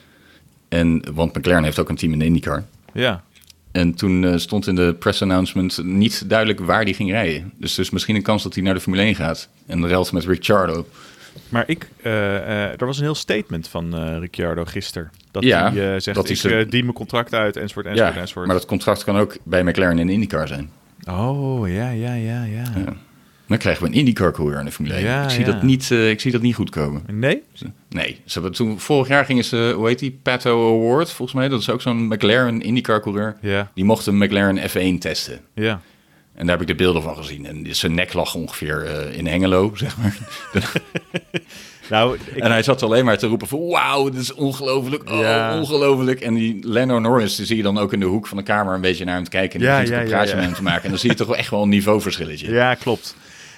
En, want McLaren heeft ook een team in de IndyCar.
ja.
En toen eh, stond in de press announcement niet duidelijk waar die ging rijden. Dus er is misschien een kans dat hij naar de Formule 1 gaat. En ruilt met Ricciardo.
Maar ik, eh, eh, er was een heel statement van eh, Ricciardo gisteren. Dat
Ja,
hij eh, zegt,
dat hij
ik
ze-
eh, dien mijn contract uit, enzovoort, enzovoort,
Ja,
enzovoort.
maar dat contract kan ook bij McLaren en IndyCar zijn.
Oh, ja, ja, ja, ja.
Dan krijgen we een IndyCar-coureur in de Formule 1.
Ja,
ik, zie
ja.
dat niet, eh, ik zie dat niet goed komen.
Nee?
Nee, ze hebben toen, vorig jaar gingen ze, hoe heet die, Pato Award, volgens mij. Dat is ook zo'n McLaren IndyCar coureur.
Ja.
Die mocht een McLaren F1 testen.
Ja.
En daar heb ik de beelden van gezien. En zijn nek lag ongeveer eh, in Hengelo, zeg maar.
Nou, ik,
En hij zat alleen maar te roepen van... Wauw, dit is ongelooflijk. Oh,
Ja.
ongelooflijk. En die Lando Norris die zie je dan ook in de hoek van de kamer... een beetje naar hem te kijken. En die
Ja,
begint
ja,
een
ja,
praatje
ja.
met hem te maken. En dan zie je toch wel echt wel een niveauverschilletje.
ja, klopt.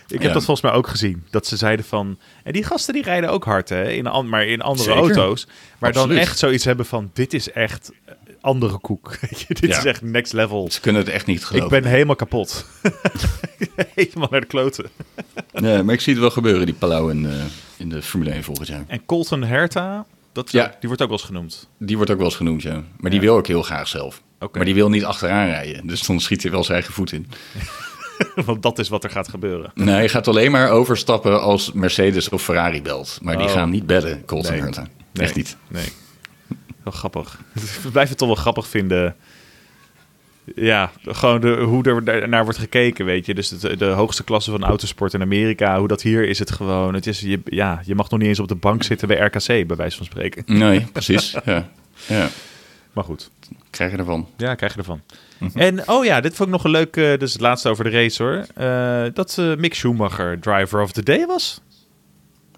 Ik heb
Ja.
dat volgens mij ook gezien. Dat ze zeiden van... En die gasten die rijden ook hard, hè? In, an- maar in andere
Zeker.
auto's. Maar dan
Absoluut.
echt zoiets hebben van... Dit is echt eh, andere koek. (laughs) Weet je, Dit
Ja.
is echt next level.
Ze kunnen het echt niet
Ik
geloven.
ben helemaal kapot. (laughs) helemaal naar de kloten.
Nee, maar ik zie het wel gebeuren, die Palau in, eh, in de Formule 1 volgend jaar.
En Colton Herta... Dat,
Ja.
Die wordt ook wel eens genoemd.
Die wordt ook wel eens genoemd, ja. Maar die wil ook heel graag zelf.
Oké.
Maar die wil niet achteraan rijden. Dus dan schiet hij wel zijn eigen voet in.
(laughs) Want dat is wat er gaat gebeuren.
Nee, hij gaat alleen maar overstappen als Mercedes of Ferrari belt. Maar die
Oh.
gaan niet bellen, Colton
Nee.
Herta.
Nee,
Echt niet.
Nee. Wel grappig. (laughs) Ik blijf het toch wel grappig vinden. Ja, gewoon de, hoe er naar wordt gekeken, weet je. Dus de, de hoogste klasse van autosport in Amerika, hoe dat hier is het gewoon. Het is, je, ja, je mag nog niet eens op de bank zitten bij RKC, bij wijze van spreken.
Nee, precies. Ja. ja,
Maar goed,
krijg je ervan.
ja, krijg je ervan. En, oh ja, dit vond ik nog een leuk, eh, dus het laatste over de race hoor. Eh, dat eh, Mick Schumacher driver of the day was.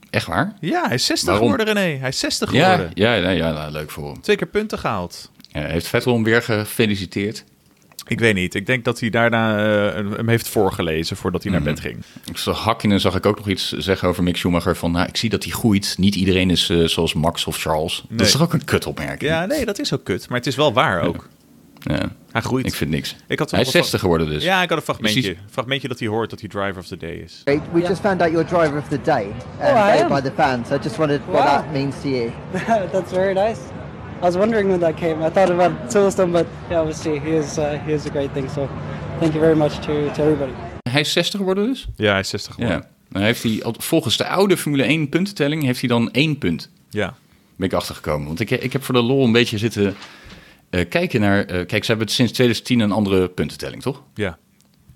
Echt waar?
Ja, hij is 60
Waarom?
geworden René. Hij is 60
Ja,
geworden.
ja, ja, ja nou, leuk voor hem.
Twee keer punten gehaald.
Ja, hij heeft Vettel hem weer gefeliciteerd.
Ik weet niet. Ik denk dat hij daarna eh, hem heeft voorgelezen voordat
Mhm.
hij naar bed ging.
Ik zag Hakkinen zag ik ook nog iets zeggen over Mick Schumacher. Van, nou, ik zie dat hij groeit. Niet iedereen is eh, zoals Max of Charles. Dat
Nee.
is toch ook een kutopmerking?
Ja, nee, dat is ook kut. Maar het is wel waar ook.
Ja.
Hij groeit.
Ik vind niks.
Ik had
hij is
wel wat-
60 geworden dus.
Ja, ik had een fragmentje.
Precies.
fragmentje dat hij hoort dat hij driver of the day is.
Great. We just found out you're driver of the day,
Oh, I
voted
am.
by the fans. I just wondered what
Wow.
that means to you.
(laughs) That's very nice. I was wondering when that came. I thought about Silverstone, but yeah, obviously he is uh, he is a great thing. So thank you very much to, to everybody.
Hij is 60 geworden dus?
Ja, hij is 60 geworden.
Ja. Dan heeft hij, al- volgens de oude Formule 1 puntentelling heeft hij dan één punt.
Ja.
Ben ik achtergekomen. Want ik, ik heb voor de lol een beetje zitten eh, kijken naar... eh, kijk, ze hebben het sinds 2010 een andere puntentelling, toch?
Ja.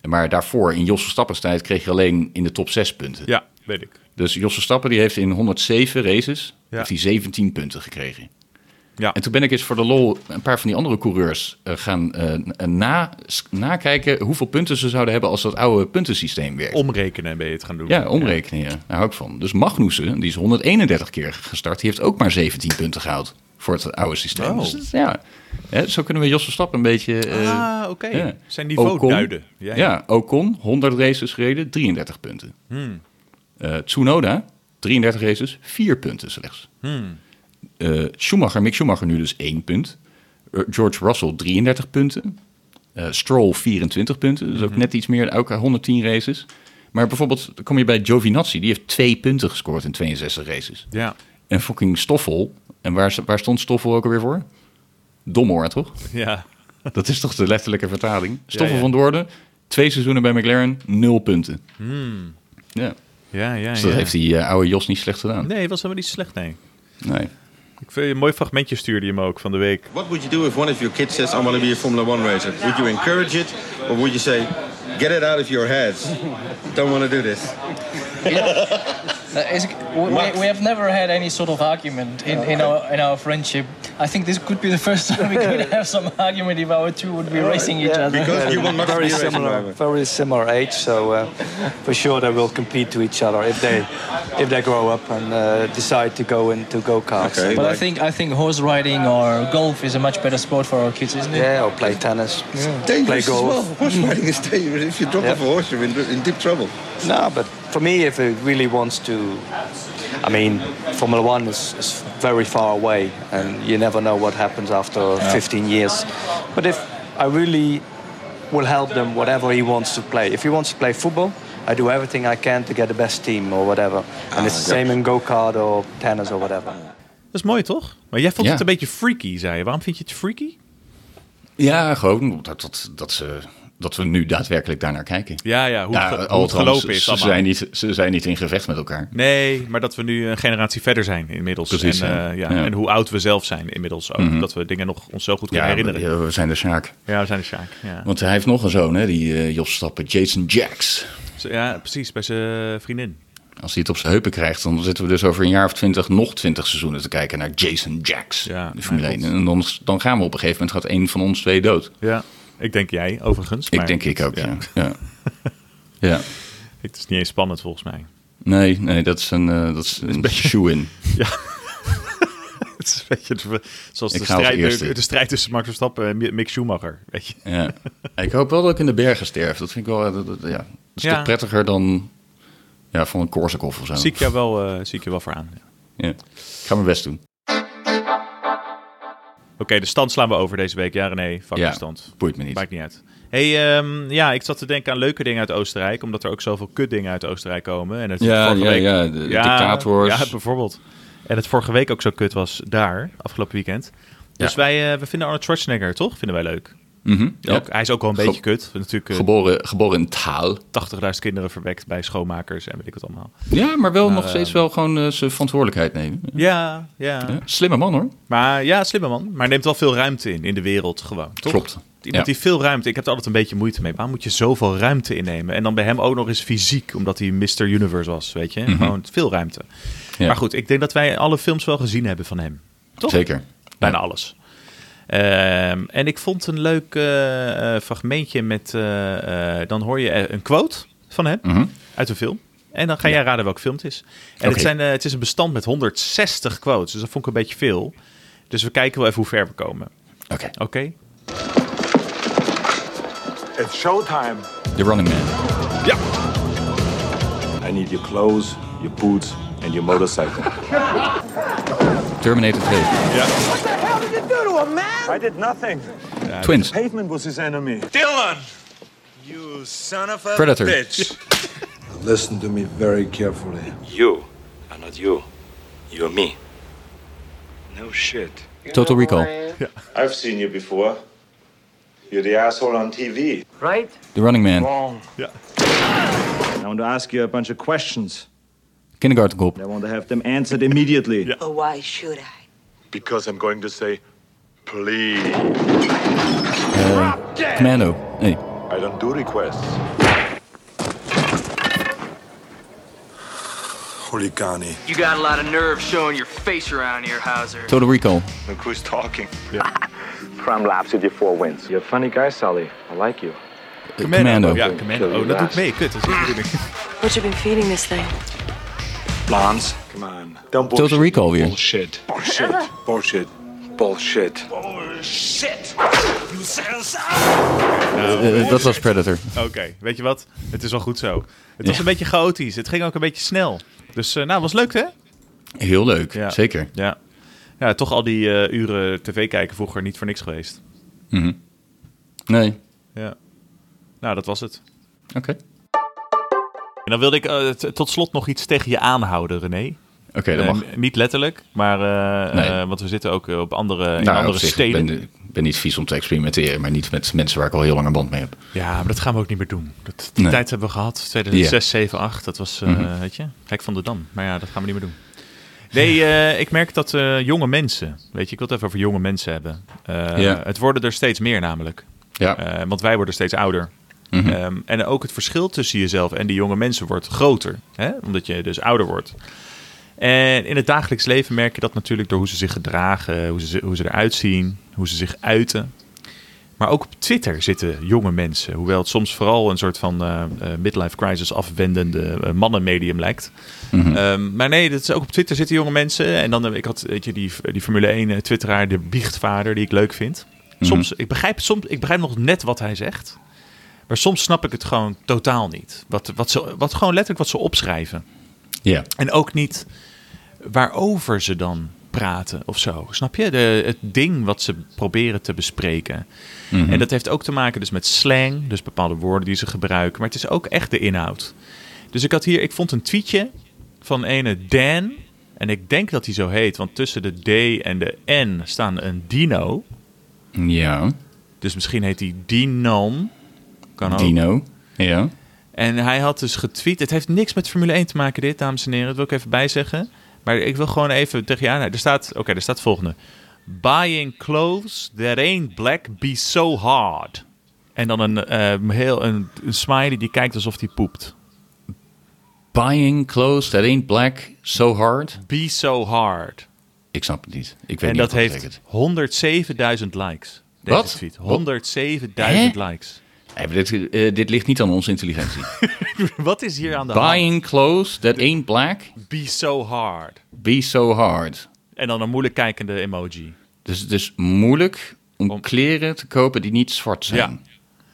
Maar daarvoor, in Jos Verstappen's tijd, kreeg je alleen in de top 6 punten.
Ja, weet ik.
Dus Jos Verstappen die heeft in 107 races
Ja.
heeft hij 17 punten gekregen.
Ja.
En toen ben ik eens voor de lol een paar van die andere coureurs eh, gaan eh, na, nakijken hoeveel punten ze zouden hebben als dat oude puntensysteem werkt.
Omrekenen ben je het gaan doen.
Ja, omrekenen. Ja. Daar hou ik van. Dus Magnussen, die is 131 keer gestart, die heeft ook maar 17 punten gehaald voor het oude systeem.
Oh.
Dus dat- ja. Hè, zo kunnen we Jos Verstappen een beetje... eh,
Ah, oké.
ja.
Zijn niveau
Ocon,
duiden.
Ja, Ocon, 100 races gereden, 33 punten.
Hmm.
Eh, Tsunoda, 33 races, 4 punten slechts.
Hmm.
Eh, Schumacher, Mick Schumacher nu dus 1 punt. Eh, George Russell, 33 punten. Eh, Stroll, 24 punten. Dus
Mhm.
ook net iets meer, elke 110 races. Maar bijvoorbeeld, dan kom je bij Giovinazzi. Die heeft 2 punten gescoord in 62 races.
Ja.
En fucking Stoffel. En waar, waar stond Stoffel ook alweer voor? Domhoor, toch?
Ja.
Dat is toch de letterlijke vertaling? Stoffel
ja.
van Doornen, twee seizoenen bij McLaren, nul punten.
Hmm.
Ja.
Ja, ja,
Dus dat
ja.
heeft die eh, oude Jos niet slecht gedaan.
Nee, was helemaal niet slecht, nee.
Nee.
Ik vind een mooi fragmentje stuurde je me ook van de week.
What would you do if one of your kids says, I want to be a Formula One racer? Would you encourage it, or would you say, get it out of your heads? Don't want to do this.
Uh, is- we, we- we have never had any sort of argument in, in our in our friendship. I think this could be the first (laughs) time we could have some argument if our two would be racing each other.
Because you want not to be
very
a racer
similar,
driver.
very similar age. So uh, for sure they will compete to each other if they if they grow up and uh, decide to go into go karts.
Okay.
But I think I think horse riding or golf is a much better sport for our kids, isn't it?
Yeah, or play tennis, play
Dangerous as well.
golf.
Horse riding is dangerous. If you drop
Yeah.
off a horse, you're in, in deep trouble.
No, but for me, if it really wants to, I mean, Formula One is, is very far away, and you never know what happens after 15 years. But if I really will help them, whatever he wants to play. If he wants to play football, I do everything I can to get the best team or whatever. And
Ah,
it's the same in go kart or tennis or whatever.
Dat is mooi, toch? Maar jij vond
Ja.
het een beetje freaky, zei je. Waarom vind je het freaky?
Ja, gewoon dat, dat, dat, ze, dat we nu daadwerkelijk daarnaar kijken.
Ja, ja. Hoe, het ge- hoe het
althans,
gelopen is.
Ze
allemaal.
zijn, niet, ze zijn niet in gevecht met elkaar.
Nee, maar dat we nu een generatie verder zijn inmiddels.
Precies,
en, eh,
ja.
ja.
Ja. Mhm.
en hoe oud we zelf zijn inmiddels ook. Dat we dingen nog ons zo goed kunnen
Ja,
herinneren. Ja.
we, we zijn de Sjaak.
we zijn de Sjaak. Ja.
(laughs) Want hij heeft nog een zoon, hè, die eh Jos Stappen, Jason Jacks.
Zo- ja, precies, bij zijn eh, vriendin.
Als hij het op zijn heupen krijgt, dan zitten we dus over een jaar of twintig, nog twintig seizoenen te kijken naar Jason Jacks.
Ja,
de Formule
mijn
1. En dan, dan gaan we op een gegeven moment, gaat één van ons twee dood.
Ja. Ik denk jij, overigens.
Ik
maar
denk ik
dat-
ook, ja. (laughs) ja. Ja.
(laughs) Het is niet eens spannend volgens
(laughs)
mij.
Nee, nee, dat is een, eh, dat is een, shoe-in.
Het is een beetje de- zoals
Ik
de
ga als
strijd,
eerste.
de, de strijd tussen Max Verstappen en Mick Schumacher. Weet je.
Ja. Ik hoop wel dat ik in de bergen sterf. Dat vind ik wel... eh, dat- dat- ja. Dat is
Ja.
toch prettiger dan ja, van een Korsakoff of zo.
Zie ik jou wel, eh, zie ik je wel voor aan. Oké,
Ja. Ik ga mijn best doen.
de stand slaan we over deze week. Ja, René, fuck
Ja,
de stand.
boeit me niet.
Maakt niet uit. Hey, ehm, ja, ik zat te denken aan leuke dingen uit Oostenrijk, omdat er ook zoveel kutdingen uit Oostenrijk komen. En het
Ja,
vorige
ja,
week-
ja, de- de dictators.
Ja, bijvoorbeeld. En het vorige week ook zo kut was daar, afgelopen weekend. Dus
Ja.
wij eh, we vinden Arnold Schwarzenegger, toch? Vinden wij leuk.
Mhm, ja.
Ook, hij is ook wel een
Ge-
beetje kut. Natuurlijk eh,
Geboren, geboren in taal.
80.000 kinderen verwekt bij schoonmakers en weet ik wat allemaal.
Ja, maar wel nog steeds wel gewoon eh, zijn verantwoordelijkheid nemen.
Ja, ja.
Ja. Slimme man hoor.
Maar ja, slimme man. Maar neemt wel veel ruimte in, in de wereld gewoon, toch?
Klopt.
Iemand
Ja.
die veel ruimte... Ik heb er altijd een beetje moeite mee. Waarom moet je zoveel ruimte innemen? En dan bij hem ook nog eens fysiek, omdat hij Mr. Universe was, weet je? Gewoon veel ruimte.
Mhm. Ja.
Maar goed, ik denk dat wij alle films wel gezien hebben van hem. Toch?
Zeker.
Bijna alles. Ehm, en ik vond een leuk eh, eh, fragmentje met... eh, eh, dan hoor je eh, een quote van hem uit een film. En dan ga jij raden welk film het is. En het,
Mhm. Oké.
zijn, eh, het is een bestand met 160 quotes. Dus dat vond ik een beetje veel. Dus we kijken wel even hoe ver we komen.
Oké.
Oké?
It's showtime.
The Running Man.
I need your clothes, your boots, and your motorcycle.
Terminator 2.
I did nothing.
Twins.
Pavement was his enemy.
Predator.
Listen to me very carefully.
You are not you. You're me.
No shit.
Total Recall.
I've seen you before. You're the asshole on TV.
The Running Man.
I want to ask you a bunch of questions.
Kindergarten Cop.
I want to have them answered immediately.
Why should I?
Because I'm going to say, please.
Commando. Nee.
I don't do requests.
Holigani.
You got a lot of nerve showing your face around here, Hauser.
Total Recall.
Look who's talking.
You're a funny guy, Sally. I like you.
Eh, Commando.
Ja, Commando. Oh, dat doet mee. Kut, dat is niet de
(laughs)
bedoeling.
What you been feeding this thing?
Blondes. Come on. Don't bullshit.
Total Recall weer.
Bullshit. Bullshit. Bullshit. Bullshit.
Eh, dat was Predator.
Oké, weet je wat? Het is wel goed zo. Het was een beetje chaotisch. Het ging ook een beetje snel. Dus eh, nou, was leuk hè?
Heel leuk.
Ja.
Zeker.
Ja. Ja, toch al die eh, uren tv kijken vroeger niet voor niks geweest.
Nee.
Ja. Nou, dat was het.
Oké.
En dan wilde ik eh, t- tot slot nog iets tegen je aanhouden, René.
Oké, dat mag. Nou,
Eh, n- niet letterlijk, maar eh,
Nee.
eh, want we zitten ook eh, op andere, in
Nou,
andere
op zich,
steden.
Ik ben, ik ben niet vies om te experimenteren, maar niet met mensen waar ik al heel lang een band mee heb.
Ja, maar dat gaan we ook niet meer doen. Dat, die
Nee. Mhm.
tijd hebben we gehad. 2006, 7, 8. Dat was, eh, weet je, Rijk van der Dam. Maar ja, dat gaan we niet meer doen. Nee, (laughs) eh, ik merk dat eh, jonge mensen, weet je, ik wil het even over jonge mensen hebben. Eh,
Ja.
Het worden er steeds meer namelijk.
Ja.
Eh, want wij worden steeds ouder. Ehm, en ook het verschil tussen jezelf en die jonge mensen wordt groter. Hè? Omdat je dus ouder wordt. En in het dagelijks leven merk je dat natuurlijk door hoe ze zich gedragen, hoe ze, hoe ze eruit zien, hoe ze zich uiten. Maar ook op Twitter zitten jonge mensen. Hoewel het soms vooral een soort van eh, eh, midlife crisis afwendende eh, mannenmedium lijkt. Ehm, maar nee, dat is ook op Twitter zitten jonge mensen. En dan, heb ik had weet je, die, die Formule 1 eh, twitteraar, de biechtvader, die ik leuk vind. Soms, ik begrijp, soms, ik begrijp nog net wat hij zegt. Maar soms snap ik het gewoon totaal niet. Wat, wat, ze, wat gewoon letterlijk wat ze opschrijven.
Ja.
En ook niet waarover ze dan praten of zo. Snap je? De, het ding wat ze proberen te bespreken. En dat heeft ook te maken dus met slang, dus bepaalde woorden die ze gebruiken. Maar het is ook echt de inhoud. Dus ik had hier, ik vond een tweetje van ene Dan. En ik denk dat hij zo heet, want tussen de D en de N staan een dino.
Ja.
Dus misschien heet hij Dinan. Kan ook.
Dino. Ja.
En hij had dus getweet. Het heeft niks met Formule 1 te maken, dit, dames en heren. Dat wil ik even bijzeggen. Maar ik wil gewoon even tegen je aan. Er staat, oké, er staat het volgende: Buying clothes that ain't black be so hard. En dan een, eh, heel, een, een smiley die kijkt alsof hij poept.
Buying clothes that ain't black so hard.
Be so hard.
Ik snap het niet. Ik weet
En
niet
dat
wat
heeft
betekent.
107.000 likes. Deze
Wat?
tweet.
Wat?
107.000 likes.
Eh, dit, eh, dit ligt niet aan onze intelligentie.
Wat is hier aan de hand?
Buying clothes that ain't black,
Be so hard.
be so hard.
En dan een moeilijk kijkende emoji.
Dus het is moeilijk om, kleren te kopen die niet zwart zijn.
Ja.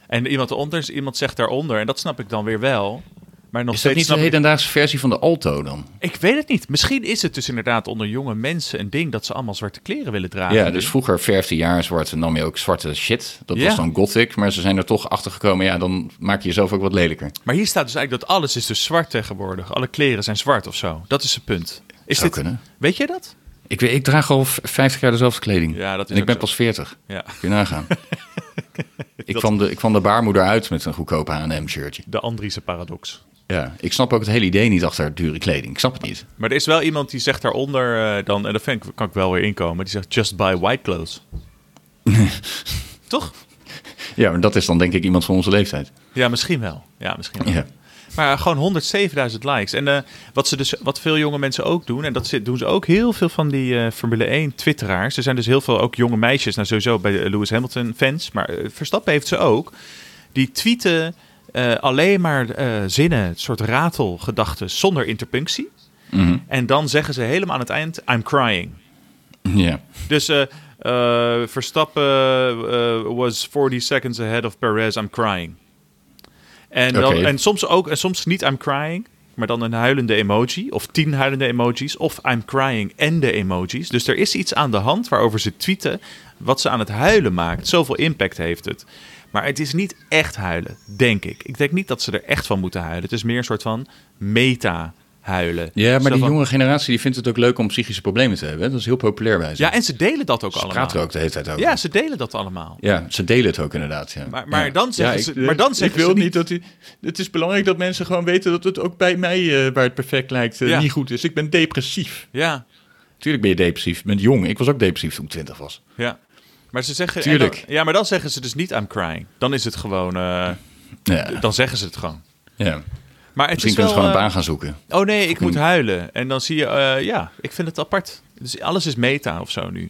En iemand eronder is, iemand zegt daaronder. En dat snap ik dan weer wel. Maar nog
Is dat
steeds
niet de
snap ik...
hedendaagse versie van de Alto dan?
ik weet het niet. Misschien is het dus inderdaad onder jonge mensen een ding dat ze allemaal zwarte kleren willen dragen.
Ja,
nu.
dus vroeger verfde jaren zwart en nam je ook zwarte shit. Dat
Ja.
was dan gothic, maar ze zijn er toch achter gekomen. Ja, dan maak je jezelf ook wat lelijker.
Maar hier staat dus eigenlijk dat alles is dus zwart tegenwoordig. Alle kleren zijn zwart of zo. Dat is het punt. Is
Zou
dit...
kunnen.
Weet jij dat?
Ik, weet- ik draag al v- 50 jaar dezelfde kleding.
Ja, dat is
en ik
ook
ben
zo.
pas 40.
Ja.
Kun je
(laughs)
nagaan. ik, kwam de, ik kwam de baarmoeder uit met een goedkoop H&M-shirtje.
De Andriese paradox.
Ja, ik snap ook het hele idee niet achter dure kleding. Ik snap het niet.
Maar er is wel iemand die zegt daaronder eh, dan... En daar vind ik, kan ik wel weer inkomen. Die zegt just buy white
(laughs)
clothes. Toch?
Ja, maar dat is dan denk ik iemand van onze leeftijd.
Ja, misschien wel. Ja, misschien wel.
Ja.
Maar eh, gewoon 107.000 likes. En eh, wat, ze dus, wat veel jonge mensen ook doen, en dat zit- doen ze ook heel veel van die eh, Formule 1 twitteraars. Er zijn dus heel veel ook jonge meisjes, nou sowieso bij de Lewis Hamilton fans, maar eh, Verstappen heeft ze ook. Die tweeten eh, alleen maar eh, zinnen, een soort ratelgedachten zonder interpunctie.
Mhm.
En dan zeggen ze helemaal aan het eind, I'm crying.
Ja.
Dus eh, eh, Verstappen eh, was 40 seconds ahead of Perez, I'm crying. En, dan,
Oké.
en soms ook, en soms niet I'm crying, maar dan een huilende emoji, of tien huilende emojis, of I'm crying en de emojis. Dus er is iets aan de hand waarover ze tweeten, wat ze aan het huilen maakt. Zoveel impact heeft het. Maar het is niet echt huilen, denk ik. Ik denk niet dat ze er echt van moeten huilen. Het is meer een soort van meta-huilen.
Ja,
Zo
maar die
van-
jonge generatie die vindt het ook leuk om psychische problemen te hebben. hè. Dat is heel populair bij ze.
Ja, en ze delen dat ook
ze
allemaal.
praten er ook de hele tijd over.
Ja, ze delen dat allemaal.
Ja, ze delen het ook inderdaad. Ja.
Maar, maar
Ja.
dan zeggen
Ja,
ze,
ik-
maar dan zeggen
wil
ze
niet dat u. Het is belangrijk dat mensen gewoon weten dat het ook bij mij, eh, waar het perfect lijkt, eh,
Ja.
niet goed is. Ik ben depressief.
Ja,
Tuurlijk ben je depressief. Je bent jong. Ik was ook depressief toen ik 20 was.
ja. Maar ze zeggen. en
Tuurlijk.
dan- ja, maar dan zeggen ze dus niet I'm crying. Dan is het gewoon. eh,
Ja.
Dan zeggen ze het gewoon.
Ja.
Maar het
Misschien
is
kunnen ze
wel,
gewoon een
eh,
baan gaan zoeken.
Oh nee, ik moet
Fucking-
huilen. En dan zie je, eh, ja, ik vind het apart. Dus alles is meta of zo nu.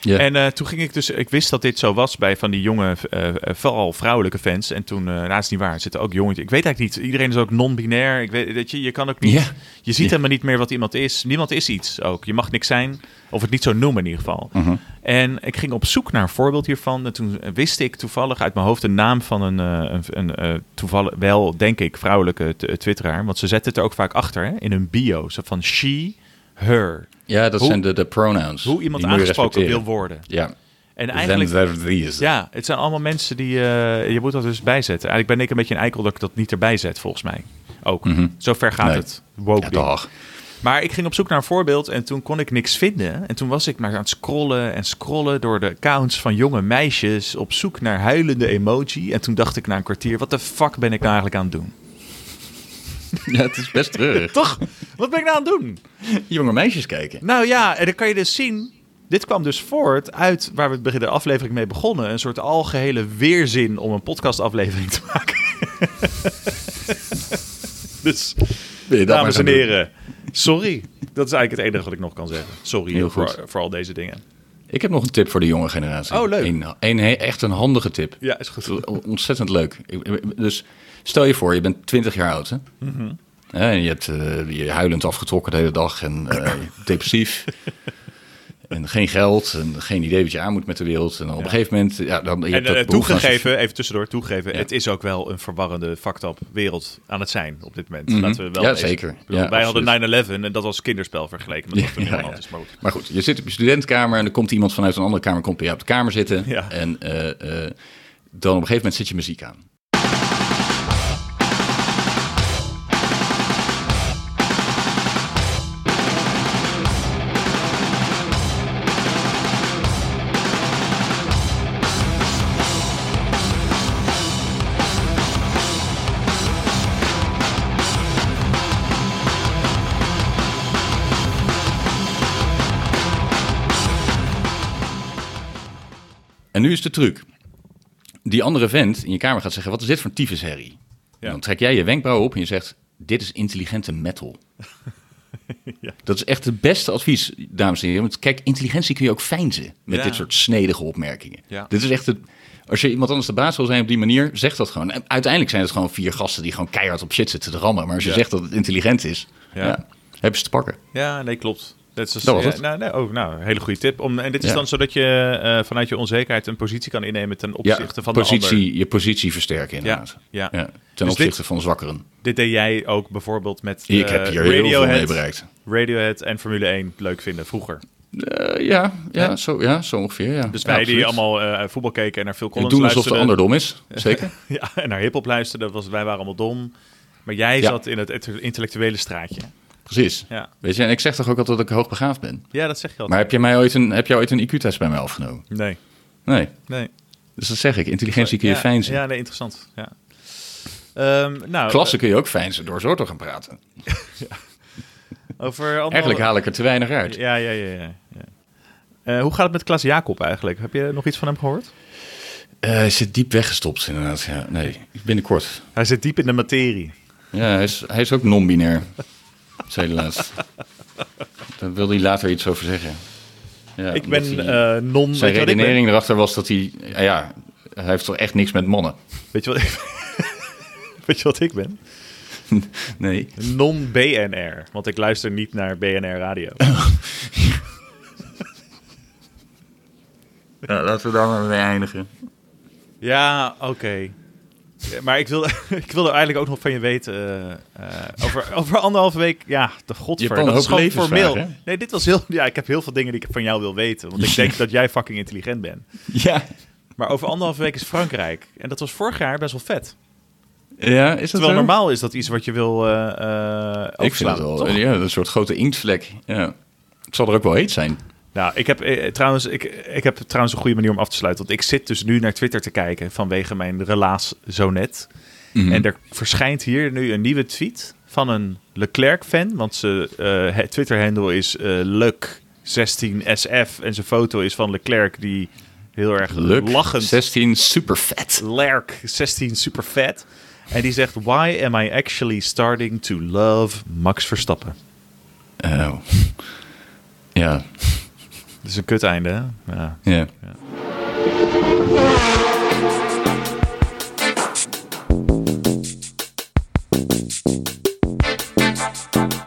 Ja.
En eh, toen ging ik dus, ik wist dat dit zo was bij van die jonge, eh, eh, vooral vrouwelijke fans. En toen, eh nou, het is niet waar, er zitten ook jongetjes. Ik weet eigenlijk niet, iedereen is ook non-binair. Ik weet, dat je, je kan ook niet,
Ja.
je ziet
Ja.
helemaal niet meer wat iemand is. Niemand is iets ook. Je mag niks zijn, of het niet zo noemen in ieder geval.
Mhm.
En ik ging op zoek naar een voorbeeld hiervan. En toen wist ik toevallig uit mijn hoofd de naam van een, eh, een, een eh, toevallig wel, denk ik, vrouwelijke t- eh, twitteraar. Want ze zetten het er ook vaak achter hè, in hun bio. Zo van she, her.
Ja, dat
Hoe-
zijn de, de pronouns.
Hoe iemand
Die moet je
aangesproken wil
respecteren.
worden.
Ja.
En
Them,
eigenlijk...
there, these.
Ja, het zijn allemaal mensen die... eh, je moet dat dus bijzetten. Eigenlijk ben ik een beetje een eikel dat ik dat niet erbij zet, volgens mij. Ook.
Mhm.
Zo ver gaat
Nee.
het. Woke
Ja,
ding.
dag.
Maar ik ging op zoek naar een voorbeeld en toen kon ik niks vinden. En toen was ik maar aan het scrollen en scrollen door de accounts van jonge meisjes op zoek naar huilende emoji. En toen dacht ik na een kwartier, wat de fuck ben ik nou eigenlijk aan het doen?
(laughs) Ja, het is best treurig.
Toch? Wat ben ik nou aan het doen?
Jonge meisjes kijken.
Nou ja, en dan kan je dus zien. Dit kwam dus voort uit waar we het begin de aflevering mee begonnen. Een soort algehele weerzin om een podcastaflevering te maken. (laughs) dus,
Wil je dat maar
dames
gaan
en
doen?
heren, sorry. Dat is eigenlijk het enige wat ik nog kan zeggen. Sorry
Heel
voor,
goed.
voor al deze dingen.
Ik heb nog een tip voor de jonge generatie.
Oh, leuk.
Een, een, he- echt een handige tip.
Ja, is goed.
Ontzettend leuk. Ik- Dus stel je voor, je bent 20 jaar oud. Hè?
Mhm.
Ja, en je hebt eh, je huilend afgetrokken de hele dag en
(laughs)
eh, depressief. En geen geld en geen idee wat je aan moet met de wereld. En dan op een gegeven moment... Ja, dan, je
En
hebt dat
eh,
behoefte aan
toegegeven, even tussendoor, toegegeven, het is ook wel een verwarrende fucked up wereld aan het zijn op dit moment.
Mhm.
Laten we wel
Ja,
wezen.
zeker.
Ik bedoel,
Ja,
wij
absoluut.
hadden 9-11 en dat was kinderspel vergeleken met wat er nu
Ja,
aan de
ja.
hand is. Maar goed.
Maar goed, je zit op je studentkamer en er komt iemand vanuit een andere kamer komt bij jou op de kamer zitten.
Ja.
En eh, eh, dan op een gegeven moment zit je muziek aan. En nu is de truc. Die andere vent in je kamer gaat zeggen, wat is dit
(laughs)
voor een tyfusherrie? En Dan trek jij je wenkbrauw op en je zegt, dit is intelligente metal. Dat is echt het beste advies, dames en heren. Want kijk, intelligentie kun je ook feinzen met
Ja.
dit soort snedige opmerkingen.
Ja.
Dit is echt het... Als je iemand anders de baas wil zijn op die manier, zeg dat gewoon. En uiteindelijk zijn het gewoon vier gasten die gewoon keihard op shit zitten te rammen. Maar als je
Ja.
zegt dat het intelligent is,
Ja.
ja. hebben ze te pakken.
Ja, nee, klopt. Dat, is dus-
Dat was
ja,
het.
Nou, nee, oh, nou, hele goede tip. Om, en dit is
Ja.
dan zodat je eh, vanuit je onzekerheid een positie kan innemen ten opzichte van de
positie,
ander.
je positie versterken inderdaad.
ja.
Ten
Dus dit-
opzichte van zwakkeren.
Dit deed jij ook bijvoorbeeld met
Ik
eh,
heb hier heel veel
Radiohead,
mee bereikt.
Radiohead en Formule 1 leuk vinden vroeger.
Eh, ja, ja,
Hè?
zo, ja, zo ongeveer. Ja.
Dus
Ja,
wij die
absoluut.
allemaal eh, voetbal keken en naar Phil Collins
doen alsof de
luisterden.
ander dom is,
(laughs)
zeker.
ja, en naar hiphop luisterden. Was, wij waren allemaal dom. Maar jij
Ja.
zat in het inter- intellectuele straatje.
Precies.
Ja.
Weet je, en ik zeg toch ook altijd dat ik hoogbegaafd ben.
Ja, dat zeg je altijd.
Maar heb jij, mij ooit een, heb jij ooit een IQ-test bij mij afgenomen?
Nee.
Nee.
Nee.
Dus dat zeg ik, intelligentie kun je
ja,
fijn zijn.
Ja, nee, interessant. Ja. Ehm nou,
Klassen
eh,
kun je ook fijn zijn door zo te gaan praten.
Oh. eh, Over andere-
Eigenlijk haal ik er te weinig uit.
Ja, ja, ja. ja, ja. Eh, hoe gaat het met Klaas Jacob eigenlijk? Heb je nog iets van hem gehoord?
Eh, hij zit diep weggestopt inderdaad. Ja, nee, binnenkort.
Hij zit diep in de materie.
Ja, hij is, hij is ook non-binair. zei hij laatst. Daar wil hij later iets over zeggen. Ja,
Ik
omdat
ben,
hij-
eh, non- weet
Zijn
je wat ik
redenering erachter was dat hij... Ja, ja, hij heeft toch echt niks met mannen. (laughs)
Weet je wat (laughs) ik, weet je wat ik ben?
Nee.
Non-BNR, want ik luister niet naar BNR Radio.
laten we daar maar mee eindigen.
(coughs) ja, oké. Ja, Maar ik wilde, (laughs) ik wilde eigenlijk ook nog van je weten. eh, eh, over, over anderhalve week, ja, de
Je
godver.
hebt al een
dat is
hoop
gewoon formeel.
levensvragen,
Nee, dit was heel. Ja, ik heb heel veel dingen die ik van jou wil weten. (laughs) Want ik denk dat jij fucking intelligent bent.
Ja.
Maar over anderhalve week is Frankrijk. En dat was vorig jaar best wel vet.
Ja, is dat
Terwijl
zo?
normaal is dat iets wat je wil eh eh,
Ik vind
overslaan,
het wel
toch?
ja, een soort grote inktvlek. Ja. Het zal er ook wel heet zijn.
Nou, ik heb, eh, trouwens, ik, ik heb trouwens een goede manier om af te sluiten. Want ik zit dus nu naar Twitter te kijken vanwege mijn relaas zo net.
Mhm.
En er verschijnt hier nu een nieuwe tweet van een Leclerc-fan. Want ze, eh, het Twitter-handle is eh, Luc16SF. En zijn foto is van Leclerc die heel erg
Luk,
lachend...
16, super vet.
Lerk, 16, super vet. En die zegt, why am I actually starting to love Max Verstappen?
Oh. Ja.
Dat is een kut einde, hè? Ja.
Ja.
Thank you.